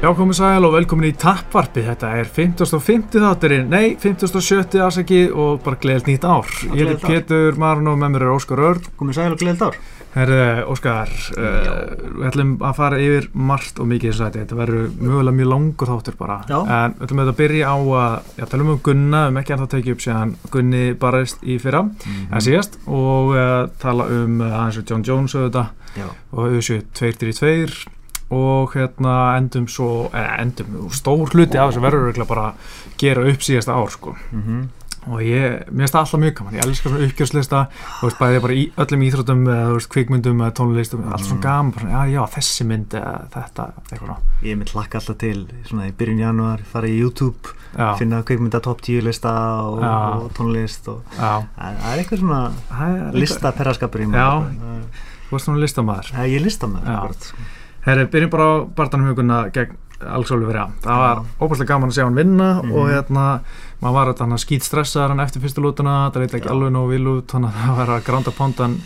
Já, komið sæl og velkomin í Tappvarpi. Þetta er 55. þátturinn, nei, 57. afsaki og bara gleðilt nýtt ár. Ég gleðilegt heiti Pétur Marun og með mér er Óskar Örn. Komið sæl og gleðið ár Herðu, Óskar, uh, við ætlum að fara yfir margt og mikið þess að þetta verður mögulega mjög langur þáttur bara. Já. En við ætlum auðvitað að byrja á að, já, talum um Gunna, við höfum ekki ennþá tekið upp síðan Gunni barist í fyrra, en síðast, og uh, tala um uh, aðeins og John Jones auðvitað, Já, og auðvitað 2-3-2 og hérna endum svo, eða endum, stór hluti af þessu verður örugglega bara að gera upp síðasta ár, sko mm og ég, mér finnst það alltaf mjög gaman ég elskar svona uppgjörslista, þú veist, bæði bara í öllum íþrótum, eða, þú veist, kvikmyndum eða tónlistum, allt svona gaman, bara svona, já, já, þessi mynd eða þetta, eitthvað ég mitt lakka alltaf til svona í byrjun januar, fara í YouTube já, finna kveikmynda top 10 lista og, Já. og tónlist og já, það það er eitthvað svona það er líka- lista perraskapur í mér Já. Það- þú veist, svona listamæður það- ég lista með Já. herri, byrjum bara á barndanum huguna gegn Alexólu verja, það var óbúslega gaman að sjá hann vinna og hérna, maður var þetta hann skýt stressaðar hann eftir fyrstu lútuna, það leit ekki Já. alveg nógu vil út, þannig að það var að granda pondan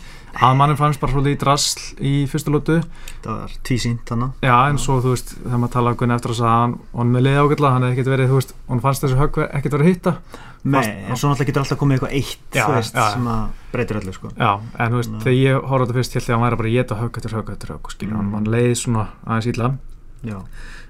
að mannum fannst bara svolítið í drasl í fyrstu lútu það var tvísýnt þannig Já, en svo, þú veist, þegar maður talaði um Gunni eftir þess að hann, hann með liði ágætla, hann hefði ekkert verið, þú veist, hann fannst þessu högg ekkert verið að hitta. Nei, Fast- en svo náttúrulega getur alltaf komið eitthvað eitt Já, þú veist, já. sem að breytir öllu sko. Já, Mhm. en þú veist, Nei. þegar ég horfði á þetta fyrst, held ég að hann væri bara að geta högg eftir högg eftir högg, skilur, hann, Mm. hann leiði svona aðeins illa. Já.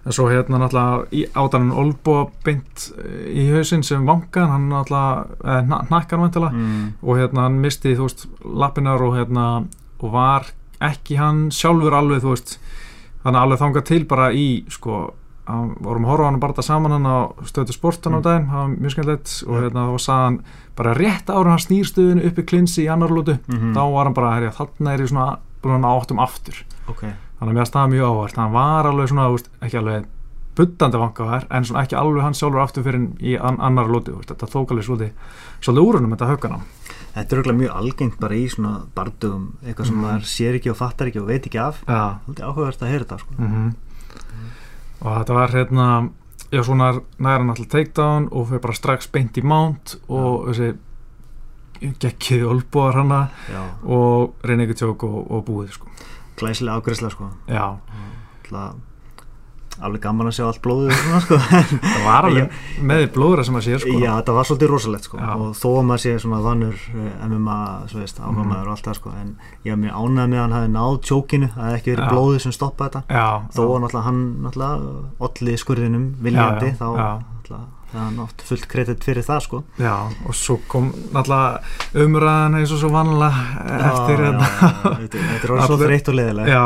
En svo hérna náttúrulega í- átti hann olbúa beint eh, í hausinn sem vankan, hann náttúrulega, eh, nakkan vantilega, Mm. og hérna hann misti þú veist lappinar og hérna og var ekki hann sjálfur alveg þú veist þannig alveg þangað til bara í sko hann, vorum að horfa á hann bara saman hann á stöðu sportan á Mm. daginn, það var mjög skemmtilegt og Já. hérna þá sagði hann bara rétt ára hann snýr stöðinu upp í klinsi í annar lútu Mm þá var hann bara, herja, þarna er ég svona búin að ná áttum aftur ok, þannig að mér staði mjög áhvert hann var alveg svona, þú veist, ekki alveg buttandi vankaðar, en svona ekki alveg hann sjálfur aftur fyrir í an annar lútu, þetta tók alveg svolítið, svolítið úrunum þetta höggana þetta er auðvitað mjög algengt bara í svona bardugum, eitthvað sem Mhm. maður sér ekki og fattar ekki og veit ekki af ja. þetta er áhugavert að heyra þetta sko. -hmm. og þetta var hérna já svona næra hann alltaf takedown og fyrir bara strax beint í mount og þessi gekkiði olbúar hana Já. og reyna ykkur tjók og, og búið sko. glæsilega ágreysla sko já, Ætla, alveg gaman að sjá allt blóðið og svona, sko. það var alveg með blóðra sem að sé sko. já, þetta var svolítið rosalegt sko Já. og þó að maður sé svona vannur eh, MMA, svo veist, áhuga Mhm. maður og allt það sko en ég haf mér ánægð með að hann hafi náð tjókinu það hefði ekki verið Já. blóðið sem stoppa þetta já, þó að já, náttúrulega hann náttúrulega olli skurðinum viljandi Já, já, þá já. náttúrulega það er hann oft fullt kredit fyrir það sko já og svo kom náttúrulega umræðan eins og svo vanlega eftir Já, hérna já, já, þetta þetta er orðið svo Allir- þreytt og leðilegt Já,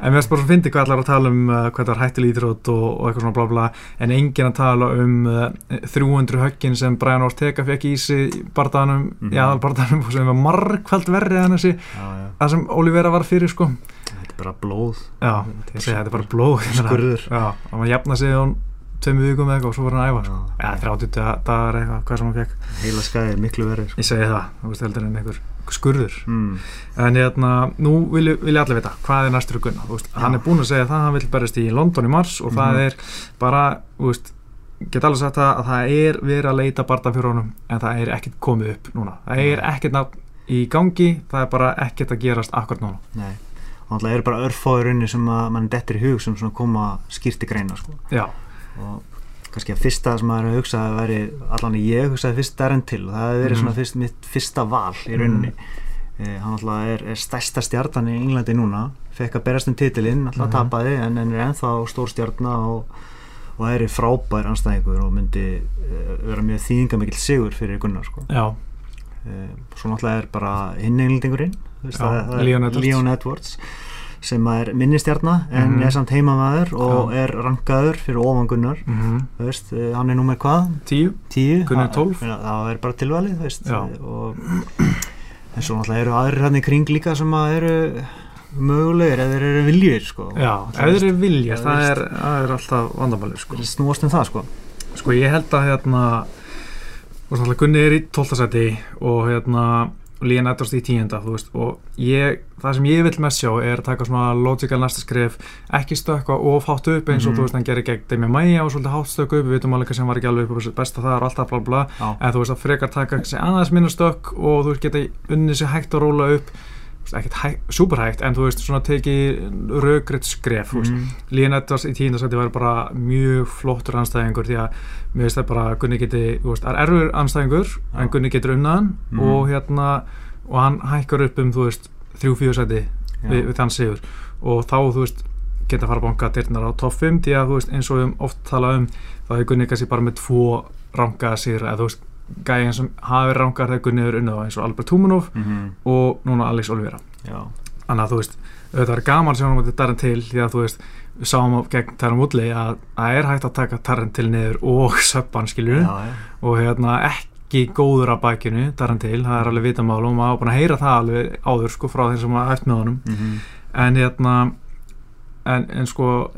en mér finnst bara að fyndi hvað allar að tala um uh, hvað það var hættileg íþrótt og, og eitthvað svona bla bla en enginn að tala um uh, 300 höggin sem Brian Ortega fekk í sig í bardaðanum, Mhm. í aðalbardaðanum og sem var margkvælt verri en þessi Já, já, það sem Olivera var fyrir sko þetta er bara blóð Já, Mhm, ég segi þetta er bara blóð ég meina. Skurður. Já, og maður jafna sig á tveimur vikum eða eitthvað og svo var hann að æfa sko. Já, Já, 30 dagar eða eitthvað, hvað sem hann fekk heila skæði miklu verið sko. Ég segi það, þú veist heldur en einhver skurður mm. En hérna, nú vilja vil allir vita hvað er næstur Gunna, þú veist, hann er búinn að segja það að hann vil berjast í London í mars og það Mhm. er bara, þú veist geta alveg sagt það að það er verið að leita barndan fyrir honum en það er ekkert komið upp núna, það er ekkert nafn í gangi, það er bara ekkert að gerast akkurat núna. Nei, og náttúrulega eru bara örfáður unni sem að mann dettir í hug sem svona koma skýrt í greina sko. Já, og kannski að fyrsta sem maður er að hugsa að veri, allan ég hugsaði fyrst Darren til það hefði verið Mhm. svona fyrst, mitt fyrsta val í rauninni eh, hann náttúrulega er, er stærsta stjartan í Englandi núna fekk að berast um titilinn, náttúrulega Mhm. tapaði en, en er ennþá stór stjartna og, og er frábær anstæðingur og myndi eh, vera mjög þýðingamikill sigur fyrir Gunnar sko. já, Eh, svo náttúrulega er bara hinn englendingurinn þú veist, Já, það- það er Leon Edwards. Leon Edwards sem er minnistjarna en Mhm. er samt heimamaður og er rankaður fyrir ofan Gunnar mm þú veist, eh, hann er númer hvað? tíu, 10? Gunnar er 12. það er bara tilvalið þú veist, Já. eh, og en svo náttúrulega eru aðrir hann í kring líka sem að eru mögulegir eða þeir eru viljir sko. já, ef Það veist, þeir eru vilja, það það veist. er, það er alltaf vandamálið, sko. þeir snúast um það sko. Sko ég held að hérna og svona Gunni er í 12. seti og hérna og Líðan Edvarst í 10. þú veist og ég, það sem ég vil mest sjá er að taka svona logical næsta skref ekki stökka of hátt upp eins og Mhm. þú veist hann gerir gegn Demi Maia og svolítið hátt stökka upp við veitum alveg hvað sem var ekki alveg upp á þessu besta það er alltaf bla bla Já. en þú veist að frekar taka sig aðeins minna stökk og þú veist geta unnið sér hægt að róla upp ekkert superhægt en þú veist svona tekið rökriðt skref mm. Mm. Líðan Edvards í tíundasæti var bara mjög flottur anstæðingur því að mér veist það bara að Gunni geti, þú veist, er erfur anstæðingur Já. en Gunni getur unnaðan Mhm. og hérna og hann hækkar upp um, þú veist, þrjú-fjögur sæti Já. við, við þann sigur og þá, þú veist, geta að fara að banka dyrnar á topp 5 því að, þú veist, eins og við höfum oft talað um þá hefur Gunni kannski bara með tvo rangaða sigur eða, þú veist, gæðin sem hafi verið rangaðar þegar Gunni hefur unnað þá, eins og Albert Tumanov Mhm. og núna Alex Olivera Já. Þannig að þú veist, auðvitað er gaman sem hann átti Darren til því að þú veist, við sáum á- gegn Darren Woodley að það er hægt að taka Darren til niður og söppan skilju Já, já. og hérna ekki góður að bakinu Darren til, það er alveg vitamál og maður á búin að heyra það alveg áður sko frá þeim sem maður æft með honum Mhm. en hérna en, en sko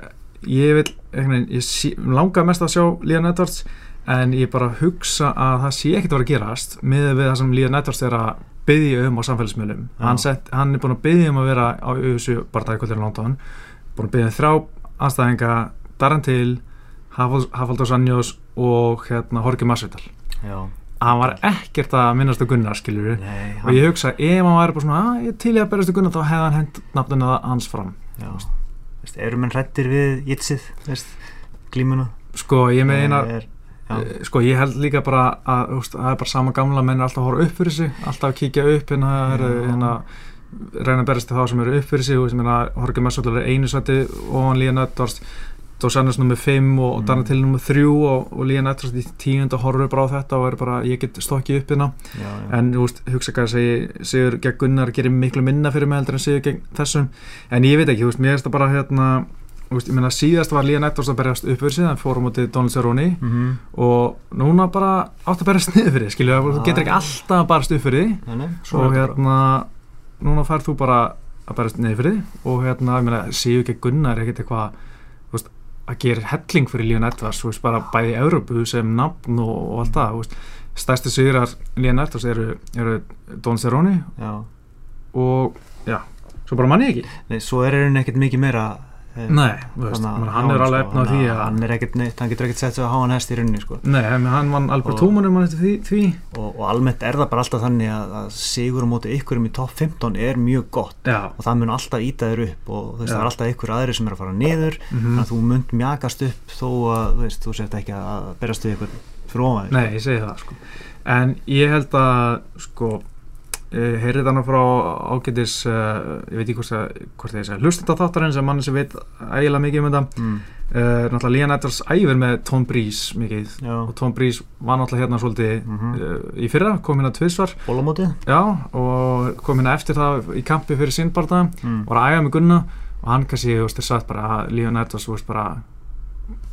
ég vil, einhvern veginn, ég sí, langar mest að sjá Líðan Edwards en ég bara hugsa að það sé ekkert að vera að gerast með við það sem Líðan Edwards er að byggja um á samfélagsmiðlum Já. hann, sett, hann er búin að byggja um að vera á öðusu bara dagkvöldur í London búin að byggja um þrjá anstæðinga Darren Till, Hafaldur Sannjós og hérna Horki Masvidal Já. hann var ekkert að minnast á Gunnar skilur Nei, og ég hugsa ef hann væri bara svona að ég er til í að berast á Gunnar þá hefði hann hent nafnuna hans fram Já. Veist, eru menn hrættir við jitsið, veist, glímuna? sko ég meina Er- Já, Eh, sko ég held líka bara að þú veist, það er bara sama gamla menn er alltaf að horfa upp fyrir sig alltaf að kíkja upp hérna, er, Já. hérna reyna að berast til þá sem eru upp fyrir sig og sem hérna Horki Messóttur er einu sæti ofan Líðan Edvards Dos Annes nummer 5 og mm. Mm. Darna til nummer 3 og, og Líðan Edvards í tíund og horfur bara á þetta og er bara ég get stokkið upp hérna já, já. en þú veist hugsa hvað segi Sigur gegn Gunnar gerir miklu minna fyrir mig heldur en Sigur gegn þessum en ég veit ekki, þú veist, mér er þetta bara hérna þú veist, ég meina síðast var Líðan Edvards að berjast upp fyrir sig þannig fórum út í Donald Cerrone Mhm. og núna bara átt að berast niður fyrir skilju, þú Já. getur ekki alltaf að berast upp fyrir Nei, nei, því svo og er þetta bara. hérna, núna færð þú bara að berast niður fyrir því og hérna, ég meina, séu ekki Gunnar er ekkert eitthvað, þú veist, að gera helling fyrir Líon Edvards, þú veist, bara bæði í Európu sem nafn og, og allt það, þú veist stærsti sigrar Líon Edvards eru, eru Don Cerrone Já. og, já, svo bara manni ekki Nei, svo er hann ekkert mikið meira eh, Nei, þú veist, þarna menn, hann á er alveg sko, efna á því hann- að Hann er ekkert neitt, hann getur ekkert sett sig að háan hest í rauninni, sko Nei, en hann vann Albert Og- Tómanum hann eftir því, því. og, og almennt er það bara alltaf þannig að, að sigur á móti ykkurum í topp 15 er mjög gott Já, og það mun alltaf íta þér upp og þú veist, Já. það er alltaf ykkur aðri sem er að fara niður mhm þannig að þú munt mjagast upp þó að þú veist, þú sért ekki að berast við ykkur fyrir ofan þig. Nei, ég segi það sko. En ég held að sko, eh, heyrið þannig frá ágætis uh, ég veit ekki hvort, það- hvort ég segi hlustenda þáttarinn sem mann sem veit ægilega mikið um þetta Mm, uh, náttúrulega Líðan Edwards æfir með Tom Breeze mikið já, og Tom Breeze var náttúrulega hérna svolítið mm -hmm. uh, í fyrra, kom hérna tvisvar bólamótið já, og kom hérna eftir það í kampi fyrir sinnbarta mm. var að æfa með Gunna og hann kannski, þú veist, er sagt bara að Líðan Edwards, þú veist, bara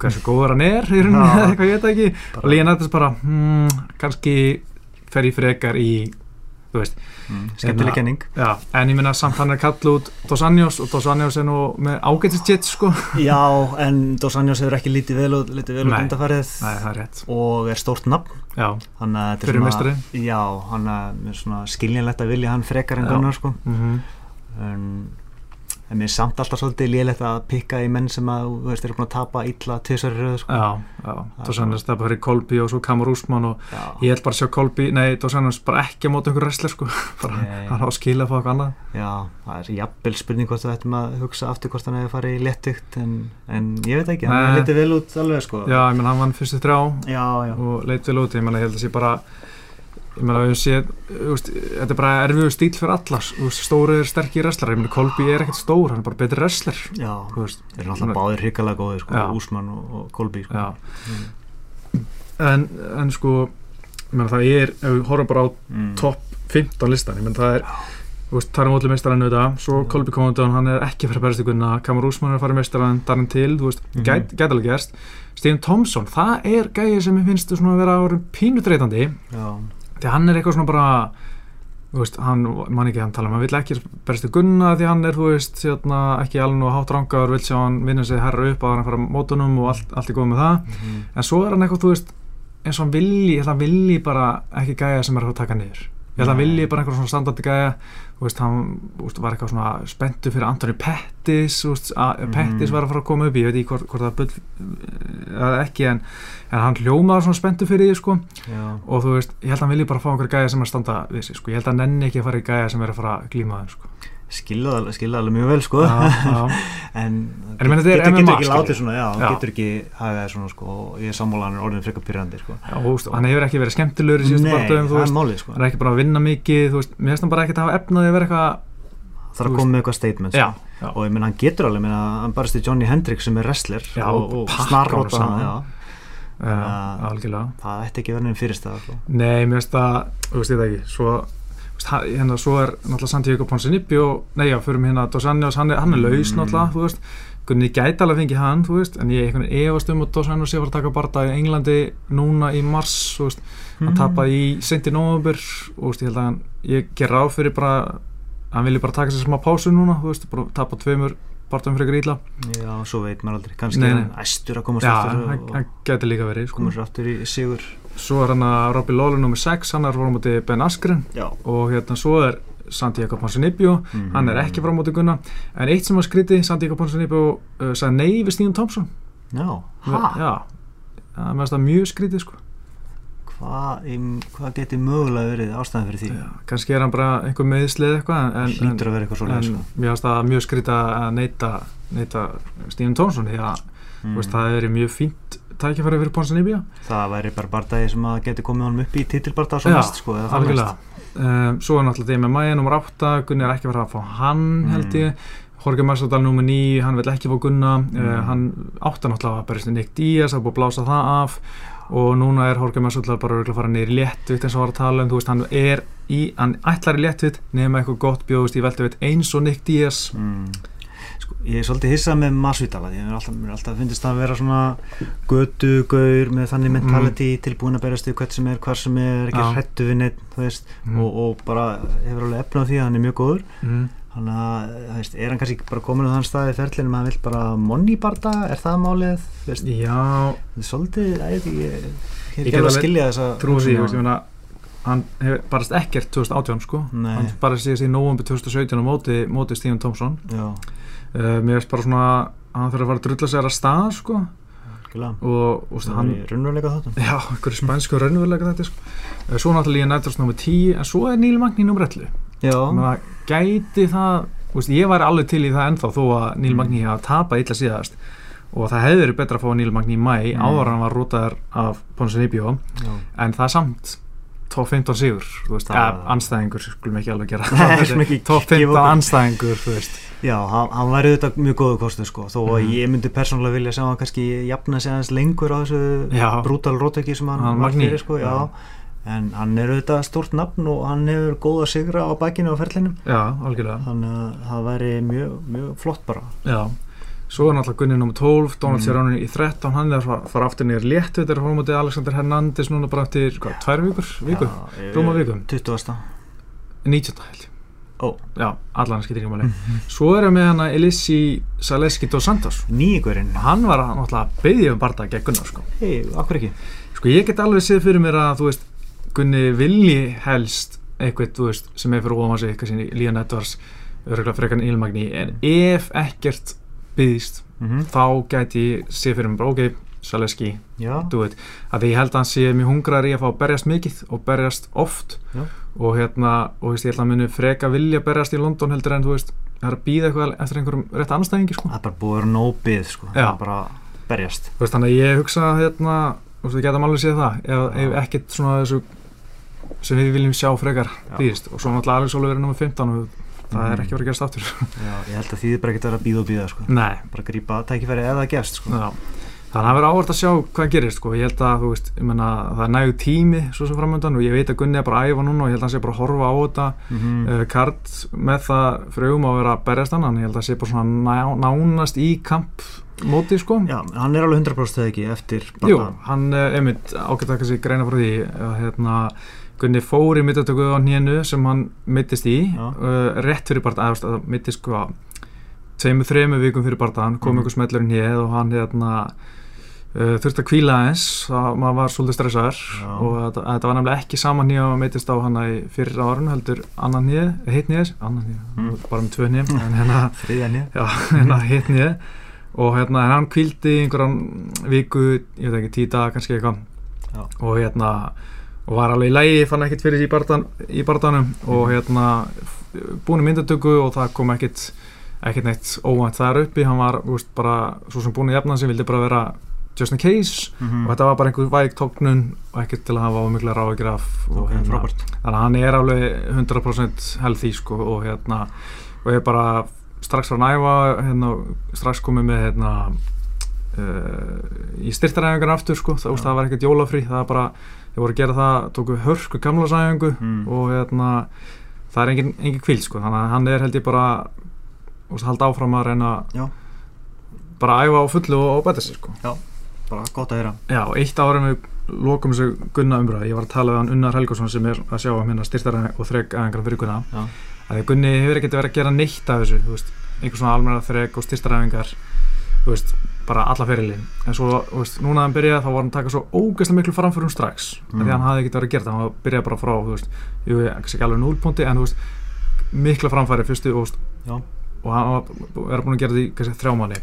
hversu góður hann er, í rauninni, Já. eða eitthvað ég veit það ekki Bara- og Líðan Edwards bara hmm, kannski fer ég frekar í þú veist, mm, skemmtileg Hérna- kenning já, en ég minna samt hann er kall út Dos Anjos og Dos Anjos er nú með ágættist jets sko nei, já, en Dos Anjos hefur ekki lítið vel og lítið vel og Nei. undarfærið það er rétt, og er stórt nafn já, hann að þetta er fyrir svona- meistari já, hann að mér er svona skiljanlegt að vilja hann frekar en Já. Gunnar sko mm en, en mér er samt alltaf svolítið lélegt að pikka í menn sem að, þú veist, eru búin að tapa illa tvisar í röðu, sko. já, já, Dos Anjos það bara fyrir Kolbi og svo Kamur Úsmann og Já, ég held bara að sjá Kolbi, nei, Dos Anjos bara ekki á móti einhver wrestler sko bara, Nei. hann á að skila að fá eitthvað annað já, það er jafnvel spurning hvort þú ættum að hugsa aftur hvort hann hefur farið í léttugt, en, en ég veit ekki, hann Nei. er litið vel út alveg, sko. já, ég menn hann vann fyrstu þrjá já, já. og leit vel út ég meina, ég held að sé bara ég meina, við sé, úst, þetta er bara erfiðu stíl fyrir allas, úst, stóru er sterkir wrestlar, ég meina, Kolbi er ekkert stór hann er bara betri wrestlar, Já, þú veist þeir eru alltaf báðir hrikalega góðir, sko, Já. Úsmann og, og Kolby, sko. já. en, en sko ég meina, það er, ef við horfum bara á Mm. topp 15 listan, ég meina, það er þú veist, það er mótlið meistarinn auðvitað, svo Já. Kolbi Kóndón hann er ekki að fara að berast í gunna, Kamar Úsmann er að fara í meistarinn, Darren Till, þú veist, Mhm. gæt, gæt alveg gerst Stíðan Tomsson, það er gæði sem ég finnst svona að vera árum pínutreitandi Já, því hann er eitthvað svona bara þú veist, hann, mann ekki hann tala um hann vill ekki berstu gunna því hann er, þú veist hérna, ekki alveg nú hátt rangaður vill sjá hann vinna sig herra upp að hann fara á mótunum og allt, allt er góð með það, mhm, en svo er hann eitthvað, þú veist eins og hann vilji, ég held að hann vilji bara ekki gæja sem er að fara að taka hann niður ég ég held að hann vilji bara einhverjum svona standardi gæja þú veist, hann þú veist, var eitthvað svona spenntu fyrir Antoni Pettis þú veist, að Mhm. Pettis var að fara að koma upp í, ég veit ekki hvort, hvort það bull eða ekki, en, en hann hljómaður svona spenntu fyrir því, sko já, og þú veist, ég held að hann vilji bara fá einhverja gæja sem er að standa við sig, sko, ég held að hann nenni ekki að fara í gæja sem er að fara að glíma þeim, sko skilða alveg, skilða alveg mjög vel sko já, já. en, En ég meina, þetta er MMA, getur, getur ekki skilur. látið svona, já, hann Já. getur ekki hagaði svona sko, og ég er sammála hann er orðin frekar pyrrandi sko. Já, og þú veist, og hann hefur ekki verið skemmtilegur í síðustu það barndöfum, þú er veist, málið sko. hann er ekki bara að vinna mikið, þú veist, mér finnst hann bara ekkert að hafa efnaði að vera eitthvað, það er að koma með eitthvað statement sko. já, já, og ég menn hann getur alveg, menn hann barist í Johnny Hendricks sem er wrestler Já, og, og og pakkar honum snarróta saman. hann já. uh, algjörlega. það ætti ekki verið enn fyrirstað sko. Nei, mér finnst það, þú veist, ég veit það ekki, svo, þú veist, hann- hérna, svo er náttúrulega Santiago Ponsinibbi og, nei, já, förum hérna, Dos Anjos, hann er, hann er laus Mm. náttúrulega, þú veist, Gunni gæti alveg fengið hann, þú veist, en ég einhvern veginn efast um að Dos Anjos ég var að taka barða í Englandi núna í mars, þú veist, hann tapaði í seinti nóvambur og þú veist, ég held að hann, ég ger ráð fyrir bara hann vilji bara taka sér smá pásu núna þú veist, bara tapa tveimur partum fyrir gríla já, svo veit maður aldrei, kannski Nei, er nei. hann æstur að komast já, aftur hann, og- hann gæti líka verið sko. komast aftur í sigur svo er hann að Robbie Lawler nr. 6 hann er frá móti Ben Askren já. og hérna svo er Santiago Ponsanibio Mhm. hann er ekki frá móti Gunna en eitt sem að skriti Santiago Ponsanibio uh, sagði nei við Stíðan Thompson já, hæ, já, það meðast það mjög skritið sko. hvað hva geti mögulega verið ástæðan fyrir því Já, kannski er hann bara einhver meðslið eitthvað en, en, hlýtur að vera eitthvað svo en sko. mér finnst það mjög skrýta að neyta, neyta Stíðan Tónsson því að Mm. mm. veist, það er mjög fínt tækifæri fyrir Ponsanibia það væri bara bardagi sem að geti komið honum upp í titilbardaga svo Já, mest sko, eða það algjörlega. mest. um, svo er náttúrulega DMMI nr. 8 Gunni er ekki verið að fá hann held ég Jorge Massadal nr. 9, hann vil ekki fá Gunna mm. uh, Mm. hann átti náttúrulega að berjast við Nick Diaz, það er búið að blása það af og núna er Jorge Massadal bara örugglega að fara niður í léttvitt eins og var að tala um, þú veist, hann er í, hann ætlar í léttvitt nema eitthvað gott bjóðust í veltevitt eins og Nick Diaz mm. sko, ég er svolítið hissað með Masvidal að ég er alltaf, mér er alltaf finnst það að vera svona götugaur með þannig mentality tilbúin að berjast við hvert sem er, hvar sem er ekki Mm. Já. hrættu við neitt, þú veist Mm. og, og bara hefur alveg efnað því að hann er mjög góður mm. Þannig að, þú veist, er hann kannski bara komin á þann staði í ferlinum að hann vil bara monni barda, er það málið? Þú veist, Já, þetta er svolítið, ég veit ekki, ég- ég Ég er get ekki alveg að alveg skilja þess að... trúi því, þú veist, ég meina hann hefur barast ekkert 2018 sko Nei. hann barast síðast í november 2017 á móti, móti Stíðan Tómsson Já, uh, mér veist bara svona að hann þurfa að fara að drulla sér að stað sko glæðan. og, og veist, Það hann er í raunveruleika þáttum. já, einhverju spænsku raunverulega þetta sko uh, svo náttúrulega ég nættúrulega nummer 10 en svo er Níl Magni nummer 11 Já, Menna, gæti það, þú veist, ég væri alveg til í það ennþá þó að Níl Mm. Magni hafa tapað illa síðast og það hefði verið betra að fá Níl Magni í mæ Mm. áður en hann var rótaður af Ponsinibjó já. en það er samt top 15 sigur, þú veist, Það- eða anstæðingur skulum ekki alveg gera Nei, það, skulum ekki top gefa 15 okkur. anstæðingur, þú veist Já, hann, hann væri auðvitað mjög góðu kostu sko, þó að Mhm. ég myndi persónulega vilja sem hann kannski jafna sig aðeins lengur á þessu Já. brútal rótöki sem hann, Hann var Magni. fyrir sko, já. Já. En hann er auðvitað stórt nafn og hann hefur góða sigra á bakinu á ferlinum, já, algjörlega þannig að það væri mjög, mjög flott bara. já. svo er náttúrulega Gunni nr. 12 Donald Mm. Cerrone í 13, hann er að fara- fara aftur nýr létt, þetta er hormótið Alexander Hernandez núna bara eftir, hvað, tvær vikur, vikur Já, Rúma eh, viku. 20. 19. held ég Ó. Mhm. já, allan skiptir ekki máli svo erum við hana Elissi Saleski dos Santos Nýgurinn hann var að náttúrulega beðið um barða gegn Gunnar sko. Hei, akkur ekki Sko ég get alveg séð fyrir mér að þú veist Gunni vilji helst eitthvað þú veist sem er fyrir ofan sig eitthvað sinni Líðan Edvards örgulega frekarinn Ilmagni en ef ekkert byggðist Mhm, þá gæti ég séð fyrir mér bara ok Saleski, Já, do it að því ég held að hann sé mjög hungrar í að fá að berjast mikið og berjast oft Já. og hérna og þú veist, ég held að hann muni freka vilja berjast í London heldur en þú veist það er að býða eitthvað eftir einhverjum rétt anstæðingi sko. það er bara búið að vera nóbið sko. Já. Það er bara að berjast Þú veist, þannig að ég hugsa að hérna, þú veist, við getum alveg séð það ef, ef ekkert svona þessu sem við viljum sjá frekar Já. dýrist og svo náttúrulega Alex Oliver er nummer 15 og það er Mhm. ekki verið að gerast aftur Já, ég held að því þið bara geta verið að býða og býða sko. Nei, Bara að grípa tækifæri eða að gefst sko. já Þannig að það verður áhvert að sjá hvað gerist sko. ég held að þú veist, ég menna, það er nægu tími svo sem framöndan og ég veit að Gunni er bara að æfa núna og ég held að hann sé bara að horfa á þetta mm -hmm. uh, kart með það frögum að vera að berjast hann, en ég held að hann sé bara svona ná, nánast í kamp móti sko. Já, hann er alveg 100% eða ekki eftir bara- Jú, hann eh, einmitt ágætt að kannski greina frá því að hérna Gunni fór í mittatöku á hnjönu sem hann mittist í Já. uh, rétt fyrir barða, eða það mittist sko tveimur, þreimur vikum fyrir barða, hann kom Mhm. einhver smellurinn hér og hann hérna uh, þurfti að kvíla eins það, maður var svolítið stressaður Já. og þetta, þetta var nefnilega ekki sama nýja og meitist á hana í fyrir árun heldur annan nýja, hitt nýja annan nýja, Mm. bara með tvö nýja en hérna, þriðja nýja já, hérna hitt nýja og hérna en hann kvíldi í einhverjan viku, ég veit ekki, tíu daga kannski eitthvað Já. og hérna og var alveg í lægi, fann ekkert fyrir í, bardan, í bardanum Mhm. og hérna búin í myndatöku og það kom ekkert ekkert neitt óvænt þar uppi hann var þú veist, bara svo sem búin í jafnan sem vildi bara vera just in case Mhm. Mhm. og þetta var bara einhver væg tóknun og ekkert til að hafa ómikla ráðgjur af og ok, hérna, frábært þannig að hann er alveg 100% healthy sko og hérna og ég er bara strax frá næfa hérna, og strax komið með hérna uh, í styrtaræfingar aftur sko, það, Já. úst, það var ekkert jólafrí það var bara, ég voru að gera það tóku hörku gamla sæfingu Mm. og hérna það er engin, engin kvíl sko þannig að hann er held ég bara úst, halda áfram að reyna Já. bara að æfa á fullu og, og bæta sér sko bara gott að heyra Já, eitt ára með lokum þessu Gunna umræði, ég var að tala við hann Unnar Helgason sem er að sjá um hérna styrtara og þreg aðengar fyrir Gunna, Já. að því að Gunni hefur ekkert verið að gera neitt af þessu, þú veist einhver svona almenna þreg og styrtaræfingar þú veist, bara alla fyrirlin en svo, þú veist, núna að hann byrjaði þá var hann að taka svo ógeðslega miklu framförum strax mm. Mm. því að hann hafði ekkert verið að gera það, hann byrjaði bara frá þú veist, jú, ekki alveg núlpunti en þú veist, mikla framfæri fyrstu og, þú Já. veist, og hann var, er búin að gera því kannski þrjá mánu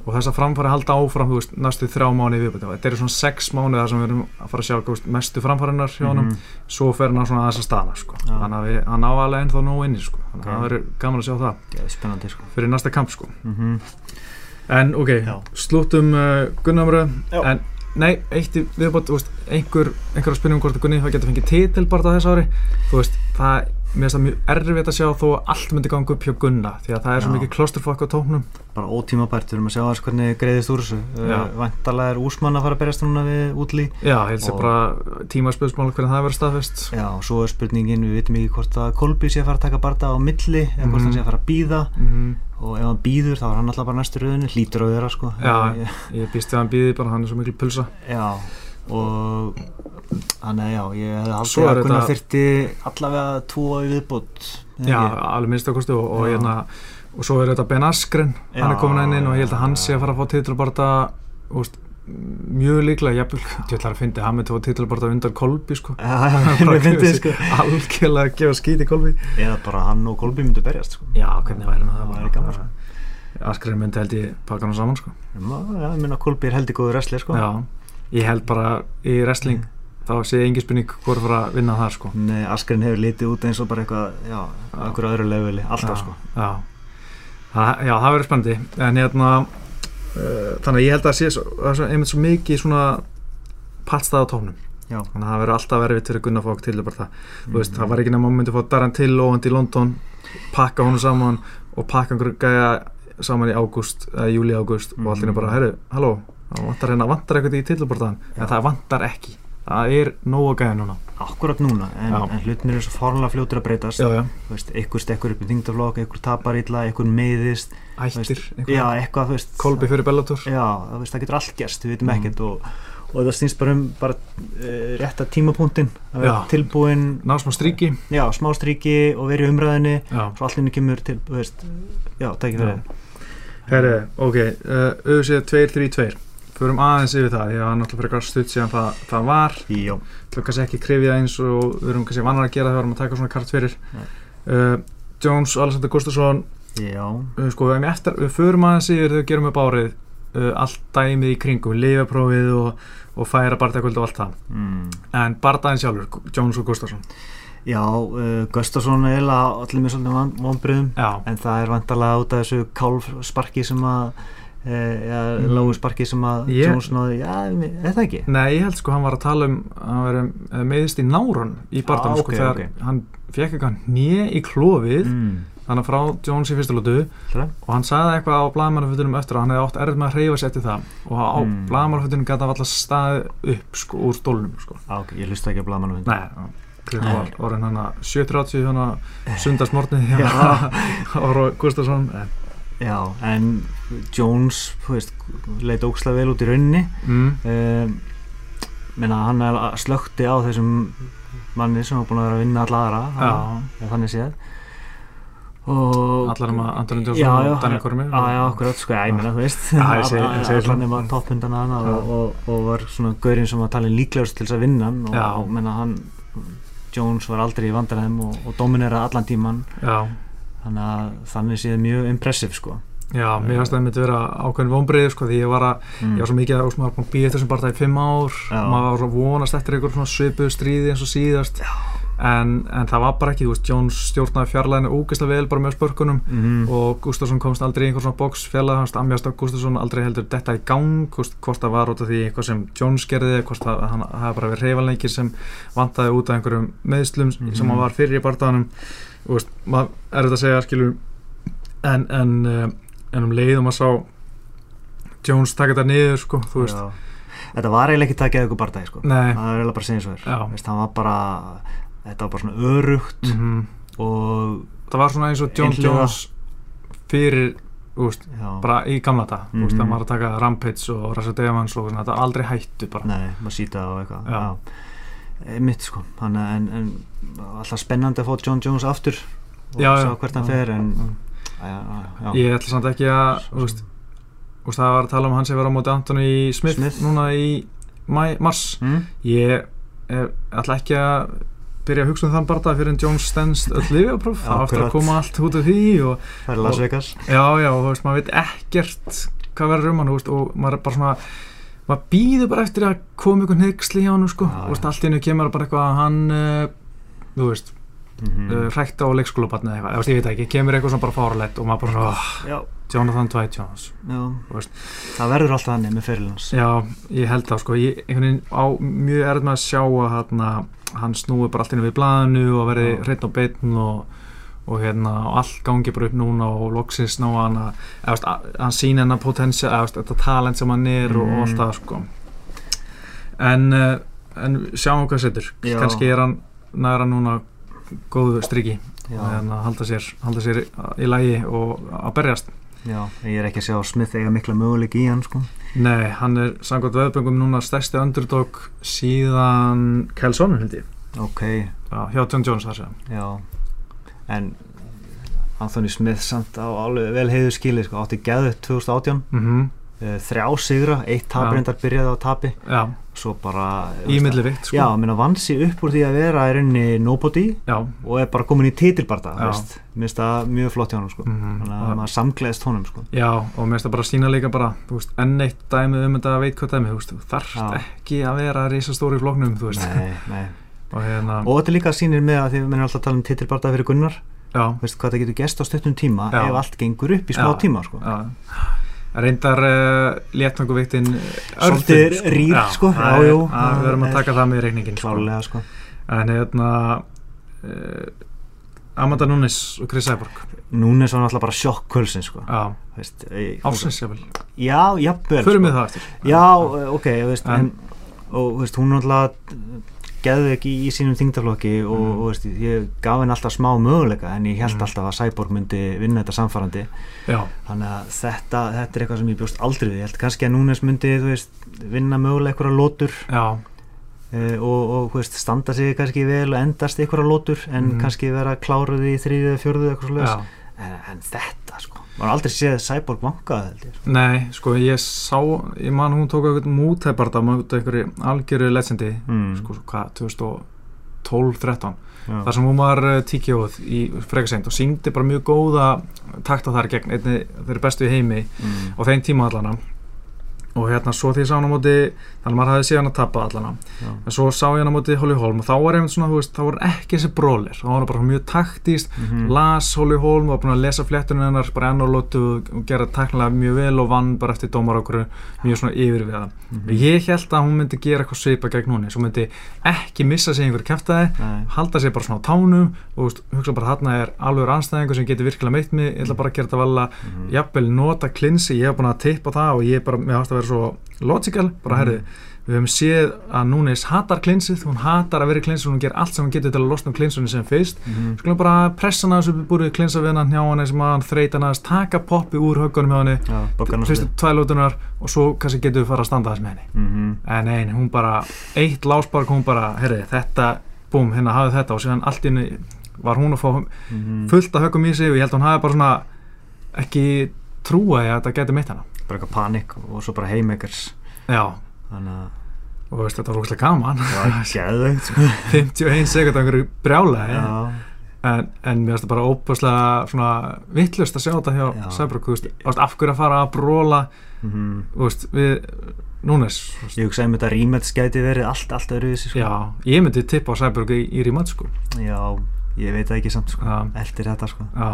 og þess að framfæri halda áfram, þú veist, næstu þrjá mánu í viðbæti, þetta eru svona sex mánu þar sem við erum að fara að sjá, þú veist, mestu framfærinar hjá honum, Mhm. svo fer hann svona aðeins að stana, sko, Já. þannig að við, hann á alveg ennþá nóg inni, sko, þannig að Ok. það verður gaman að sjá það Já, spennandi sko fyrir næsta kamp, sko Mhm. En ok, Já. slúttum uh, Gunnamröð Já. En nei, eitt í viðbót þú veist, einhver, einhver að spyrja um hvort að Gunni það getur fengið titil bara á þessu ári Þú veist, það, mér finnst það mjög erfitt að sjá þó að allt myndi ganga upp hjá Gunna Því að það er svo Já. mikið klosturfokk á tóknum bara ótímabært, við erum að sjá aðeins hvernig greiðist úr þessu Já. uh, vantalega er úsmann að fara að berjast núna við útlí Já, ég held sér Og- bara tímaspöðsmál hvernig það verður staðfest Já, og svo er spurningin, við veitum ekki hvort að Kolby sé að fara að taka barða á milli eða hvort Mhm. hann sé að fara að býða Mhm. og ef hann býður þá er hann alltaf bara næstu röðinu hlýtur á þeirra sko Já. Ég- Ég býst við að hann býði bara, hann er svo mikil pulsa já og þannig að já, ég hefði Svo haldið er að kunna þetta- þyrti allavega tvo í viðbútt Já, alveg minnstakosti og, og, Já. hérna, og svo er þetta Ben Askren Hann er Já, komin enn inn og ég held að hann já. sé að fara að fá titilbarta úst, mjög líklega, jafnvel ég ætla að fyndi hann myndi að fá titilbarta undan Kolbi sko. Já, já, mér finnst þið sko algjörlega að gefa skít í Kolbi eða bara hann og Kolby myndu berjast sko Já, hvernig væri hann að það það væri gaman sko Askren myndi held ég pakka hann saman sko. Já, ég minna Kolby er heldig góður wrestler sko Já, ég held bara í wrestling þá sé engin spurning hvort fara að vinna það sko. Nei, Askren hefur litið út eins og bara eitthvað, já, Já. okkur öðru leveli, alltaf já, sko. já. Það, já, það verður spennandi en hérna uh, þannig að ég held að sé svo, það er svo- einmitt svo mikið svona pattstað á tónum Já. Mhm. þannig að það verður alltaf verið fyrir Gunnar Fók til bara það, þú veist, það var ekki nema að myndi fá Darren til og hann til London pakka honum saman og pakka einhverju gæja saman í ágúst, eða júli ágúst og allir er bara, herru, halló það vantar hérna, vantar eitthvað í tilbartaðan Mhm. Já. en það vantar ekki, það er nóg að gæja núna Akkurat núna, en, Já. en hlutin eru svo fórlega fljótur að breytast. já, Þú veist, einhver stekkur upp í þingdaflokk, einhver tapar illa, einhver meiðist. ættir, Já, einhver- eitthvað, þú veist. Kolbi fyrir Bellator Já, þú veist, það getur allt gerst, við veitum Mm. ekkert og, og það snýst bara um bara uh, rétta tímapunktin, að vera Já. tilbúin, ná smá stríki já, smá stríki og verið umræðinni, já. svo allir kemur til, þú veist, já, tækið Já. fyrir. Herri, ok, uh, UFC 232 Förum aðeins yfir það, ég var náttúrulega frekar stutt síðan það, það var Jó. Það kannski ekki krifið eins og við erum kannski vannar að gera þegar við erum að taka svona kart fyrir Nei. uh, Jones, Alexander Gustafsson Já. uh, Sko, við, eftir, við förum aðeins yfir þegar við gerum upp árið uh, Allt dæmið í kringum, lifaprófið og, og færa barndagöld og allt það Mm. En barndaginn sjálfur, Jones og Gustafsson Já, uh, Gustafsson er eiginlega allir með svolítið von- vonbrigðum Já, en það er vantarlega út af þessu kálfsparki sem að e, ja, Mm. lágu sparki sem að Ég- Jones náði, já, mi- er það ekki? Nei, ég held sko hann var að tala um að hann veri meðist í nárun í barndanum Ah, sko, ok, þegar ok. hann fekk eitthvað nýja í klófið Mm. þannig frá Jones í fyrstu lótu Hra? og hann sagði eitthvað á blagamannafötunum eftir og hann hefði átt erð með að hreyfa sér til það og á mm. Mm. blagamannafötunum gæti hann alltaf staðið upp sko, úr stólnum sko. Á, ok, ég hlusta ekki að blaða mannum Nei, klukkan Nei. var orðin hann að 7.30 hann að sundarsmortni Já. ára Gustafsson en, Já, en Jones, þú veist, leit ókslega vel út í rauninni mm, um, menna hann er að- slökkti á þessum manni sem var búin að vera að vinna alla aðra já, eða þannig séð og allar um að Antonin Já, Jónsson já, og Daniel Kormi Já, já, akkurat, sko, já, ég meina, þú veist Já, ég segi- ég segi Alla svona. nema topphundana hana og, og, og var svona gaurinn sem var talin líklegast til þess að vinna hann og, Já. og menna hann Jones var aldrei í vandaræðum og, og dominera allan tíman já, þannig að þannig séð mjög impressiv sko já, mér finnst það myndi vera ákveðin vonbreið sko, því ég var að, mm. ég var svo mikið að ósma að býja þessum barða í fimm ár Já. maður var svo vonast eftir einhver svona svipuð stríði eins og síðast en, en það var bara ekki, þú veist, Jones stjórnaði fjarlæðinu ógeðslega vel bara með spörkunum mm. og Gustafsson komst aldrei í einhver svona box fjarlæði hans, amjast af Gustafsson aldrei heldur detta í gang, þú veist, hvort það var út af því eitthvað sem Jones gerði, eða hvort það, hann, það hafi bara verið reyfalengi sem vantaði út af einhverjum meðslum Mhm. sem hann var fyrir í barðanum og veist, maður er þetta að segja skilur en, en, eh, en um leiðum að sá Jones taka þetta niður sko, þú veist, Já. Þetta var eiginlega ekki takið ykkur bardagi sko nei það er eiginlega bara að segja eins og Já. þér Veist, hann var bara, þetta var bara svona örugt mhm. og það var svona eins og John Einhliða. Jones fyrir úst, já, bara í gamla dag mm Mhm. -hmm. það maður að taka Rampage og Rasa Devans og svona, þetta aldrei hættu bara Nei, maður sýta og eitthvað Já. já. mitt sko hann, en, en alltaf spennandi að fá John Jones aftur og Já, já. sjá hvert hann Já. fer en já, já, já. ég ætla samt ekki að úst, úst, það var að tala um hans sem vera á móti Anthony Smith, Smith. núna í mæ, mars Mm? ég eh, ætla ekki að byrja að hugsa um þann barða fyrir en Jones stendst öll lifjapróf það á eftir að Akkurat. koma allt út af því og það er Las Og- Vegas já, já, og þú veist, maður veit ekkert hvað verður um hann, þú veist, og maður er bara svona maður býður bara eftir að koma einhvern hyggsli hjá hann, sko, Já, og veist, já. allt í hennu kemur bara eitthvað að hann uh, þú veist, mm mm. hrækta á leikskólabarnið eða eitthvað, þú veist, ég veit ekki, kemur eitthvað svona bara fárlegt og maður bara svona, oh, já, Jonathan Dwight Jones já. Þú veist. það verður alltaf hann með fyrirlans já, ég held það, sko, ég einhvern veginn á mjög erð með að sjá að hana, hann snúi bara allt í hennu við blaðinu og verði Já. hreitt á beitn og og hérna, og allt gangi bara upp núna og loksins ná hann að eða, veist, að- hann sína hennar potensja, eða, veist, þetta talent sem hann er og, og allt Mm. það sko en, eh, en sjáum hvað setur Já. kannski er hann, næra núna góðu striki já, en að halda sér, halda sér í lægi og að berjast já, ég er ekki að sjá Smith eiga mikla möguleik í hann sko Nei, hann er samkvæmt veðböngum núna stærsti underdog síðan Kelson held ég ok, Já, hjá John Jones þar sem já en Anthony Smith samt á alveg vel heiðu skili sko, átti geðu 2018 mm -hmm. eh, þrjá sigra, eitt Já. tap reyndar byrjaði á tapi Já, svo bara í millivikt sko Já, minna vann sér upp úr því að vera í rauninni nobody Já, og er bara komin í titilbarta Já. veist, minnst það mjög flott hjá honum sko. Mhm. þannig að maður samgleðist honum sko. Já, og mér finnst það bara að sína líka bara, þú veist, enn eitt dæmið um þetta að veit hvað dæmið, þú veist, þú þarft Já. ekki að vera risastóri í flóknum, þú veist, nei, nei. og hérna, og þetta líka sýnir með að því við minnum alltaf að tala um titilbarta fyrir Gunnar já, veist, hvað það getur gest á stuttum tíma Já. ef allt gengur upp í smá Já. tíma sko. já, reyndar uh, léttvanguviktin Svolítið rýr, sko. Já, eh, já, já, jú. við verðum að Það er- taka það með í reikningin, sko. klálega sko. en hérna uh, Amanda Nunes og Chris Cyborg núna er svo náttúrulega bara sjokk kvölsin sko. já, Veist, eh, ég- áfsins jáfnvel, já, jafnvel förum sko. við það eftir Já, ok, þú veist, En- en, og þú veist, hún náttúrulega geði ekki í sínum þingdaflokki og Mhm. mm. veist, ég gaf henni alltaf smá möguleika en ég held Mhm. alltaf að Cyborg myndi vinna þetta samfærandi já, þannig að þetta, þetta er eitthvað sem ég bjóst aldrei við ég held kannski að Núnes myndi þú veist, vinna möguleika einhverja lótur já, uh, og, og þú veist, standa sig kannski vel og endast einhverja lótur en Mhm. kannski vera kláruð í þriðið eða fjóruðið eitthvað já slúðis en, en þetta sko, maður aldrei séð Cyborg vankaði held ég sko. nei, sko ég sá ég man hún tók eitthvað mútæparta út af einhverju algjöru legendi mm. sko svo hvað, 2012-13 já. þar sem hún var uh, tíkjóð í frekasegnd og síndi bara mjög góða takta þar gegn einni þeirri bestu í heimi mm. á þeim tíma allana og hérna svo því ég sá hann á móti þannig að maður hafði séð hann að tappa allana já. en svo sá ég hann á móti Holly Holm og þá var einmitt svona, þú veist, þá var hann ekki þessi brólir þá var hann bara mjög taktíst, Mhm. las Holly Holm var búin að lesa fléttunum hennar, bara enn og lótu og gera tæknilega mjög vel og vann bara eftir dómar okkur, mjög svona yfir við það Mhm. ég held að hún myndi gera eitthvað svipa gegn hún, hún myndi ekki missa sig í einhverju kæftæði Nei. halda sér bara svona á tánum og þú veist, hugsa bara þarna er alvegur anstæðingur sem getur virkilega meitt mig, ég ætla bara að gera þetta vala Mhm. jafnvel nota klinsi, ég hef búin að tippa það og ég er bara, mér hafst að vera svo logical, bara Mhm. herðu, við höfum séð að Núnes hatar klinsið, hún hatar að vera í klinsið, hún ger allt sem hún getur til að losna um klinsunni sem fyrst, Mhm. skulum bara pressa hann aðeins upp í búrið, klinsa við hann hjá hann sem að hann þreita hann aðeins, taka poppi úr höggunum hjá henni, Já, boggarnar fyrstu tvælótunar og svo kannski getur við fara að standa þess með henni Mhm. en nein, hún bara, eitt láspark hún bara, herri, þetta, búm, hérna hafið þetta og síðan allt inni var hún að fá Mhm. fullt að högum í sig og ég held að hún hafi bara svona ekki trúa að þetta geti meitt hana bara eitthvað panik og svo bara haymakers já, þannig að og veist, þetta var rúkslega gaman það var geðveikt sko. 51 sekund af einhverju brjála já, en, en mér finnst það bara óbúslega svona vittlust að sjá þetta hjá Já. Sæbruk, þú veist, þú veist, af hverju að fara að bróla mhm. þú veist, við Núnes, þú veist, ég hugsaði um þetta rematch gæti verið allt, allt öðru þessi sko. já, ég myndi tippa á Sæbruk í, í rímat, sko já, ég veit það ekki samt sko. Já. eftir þetta sko. Já,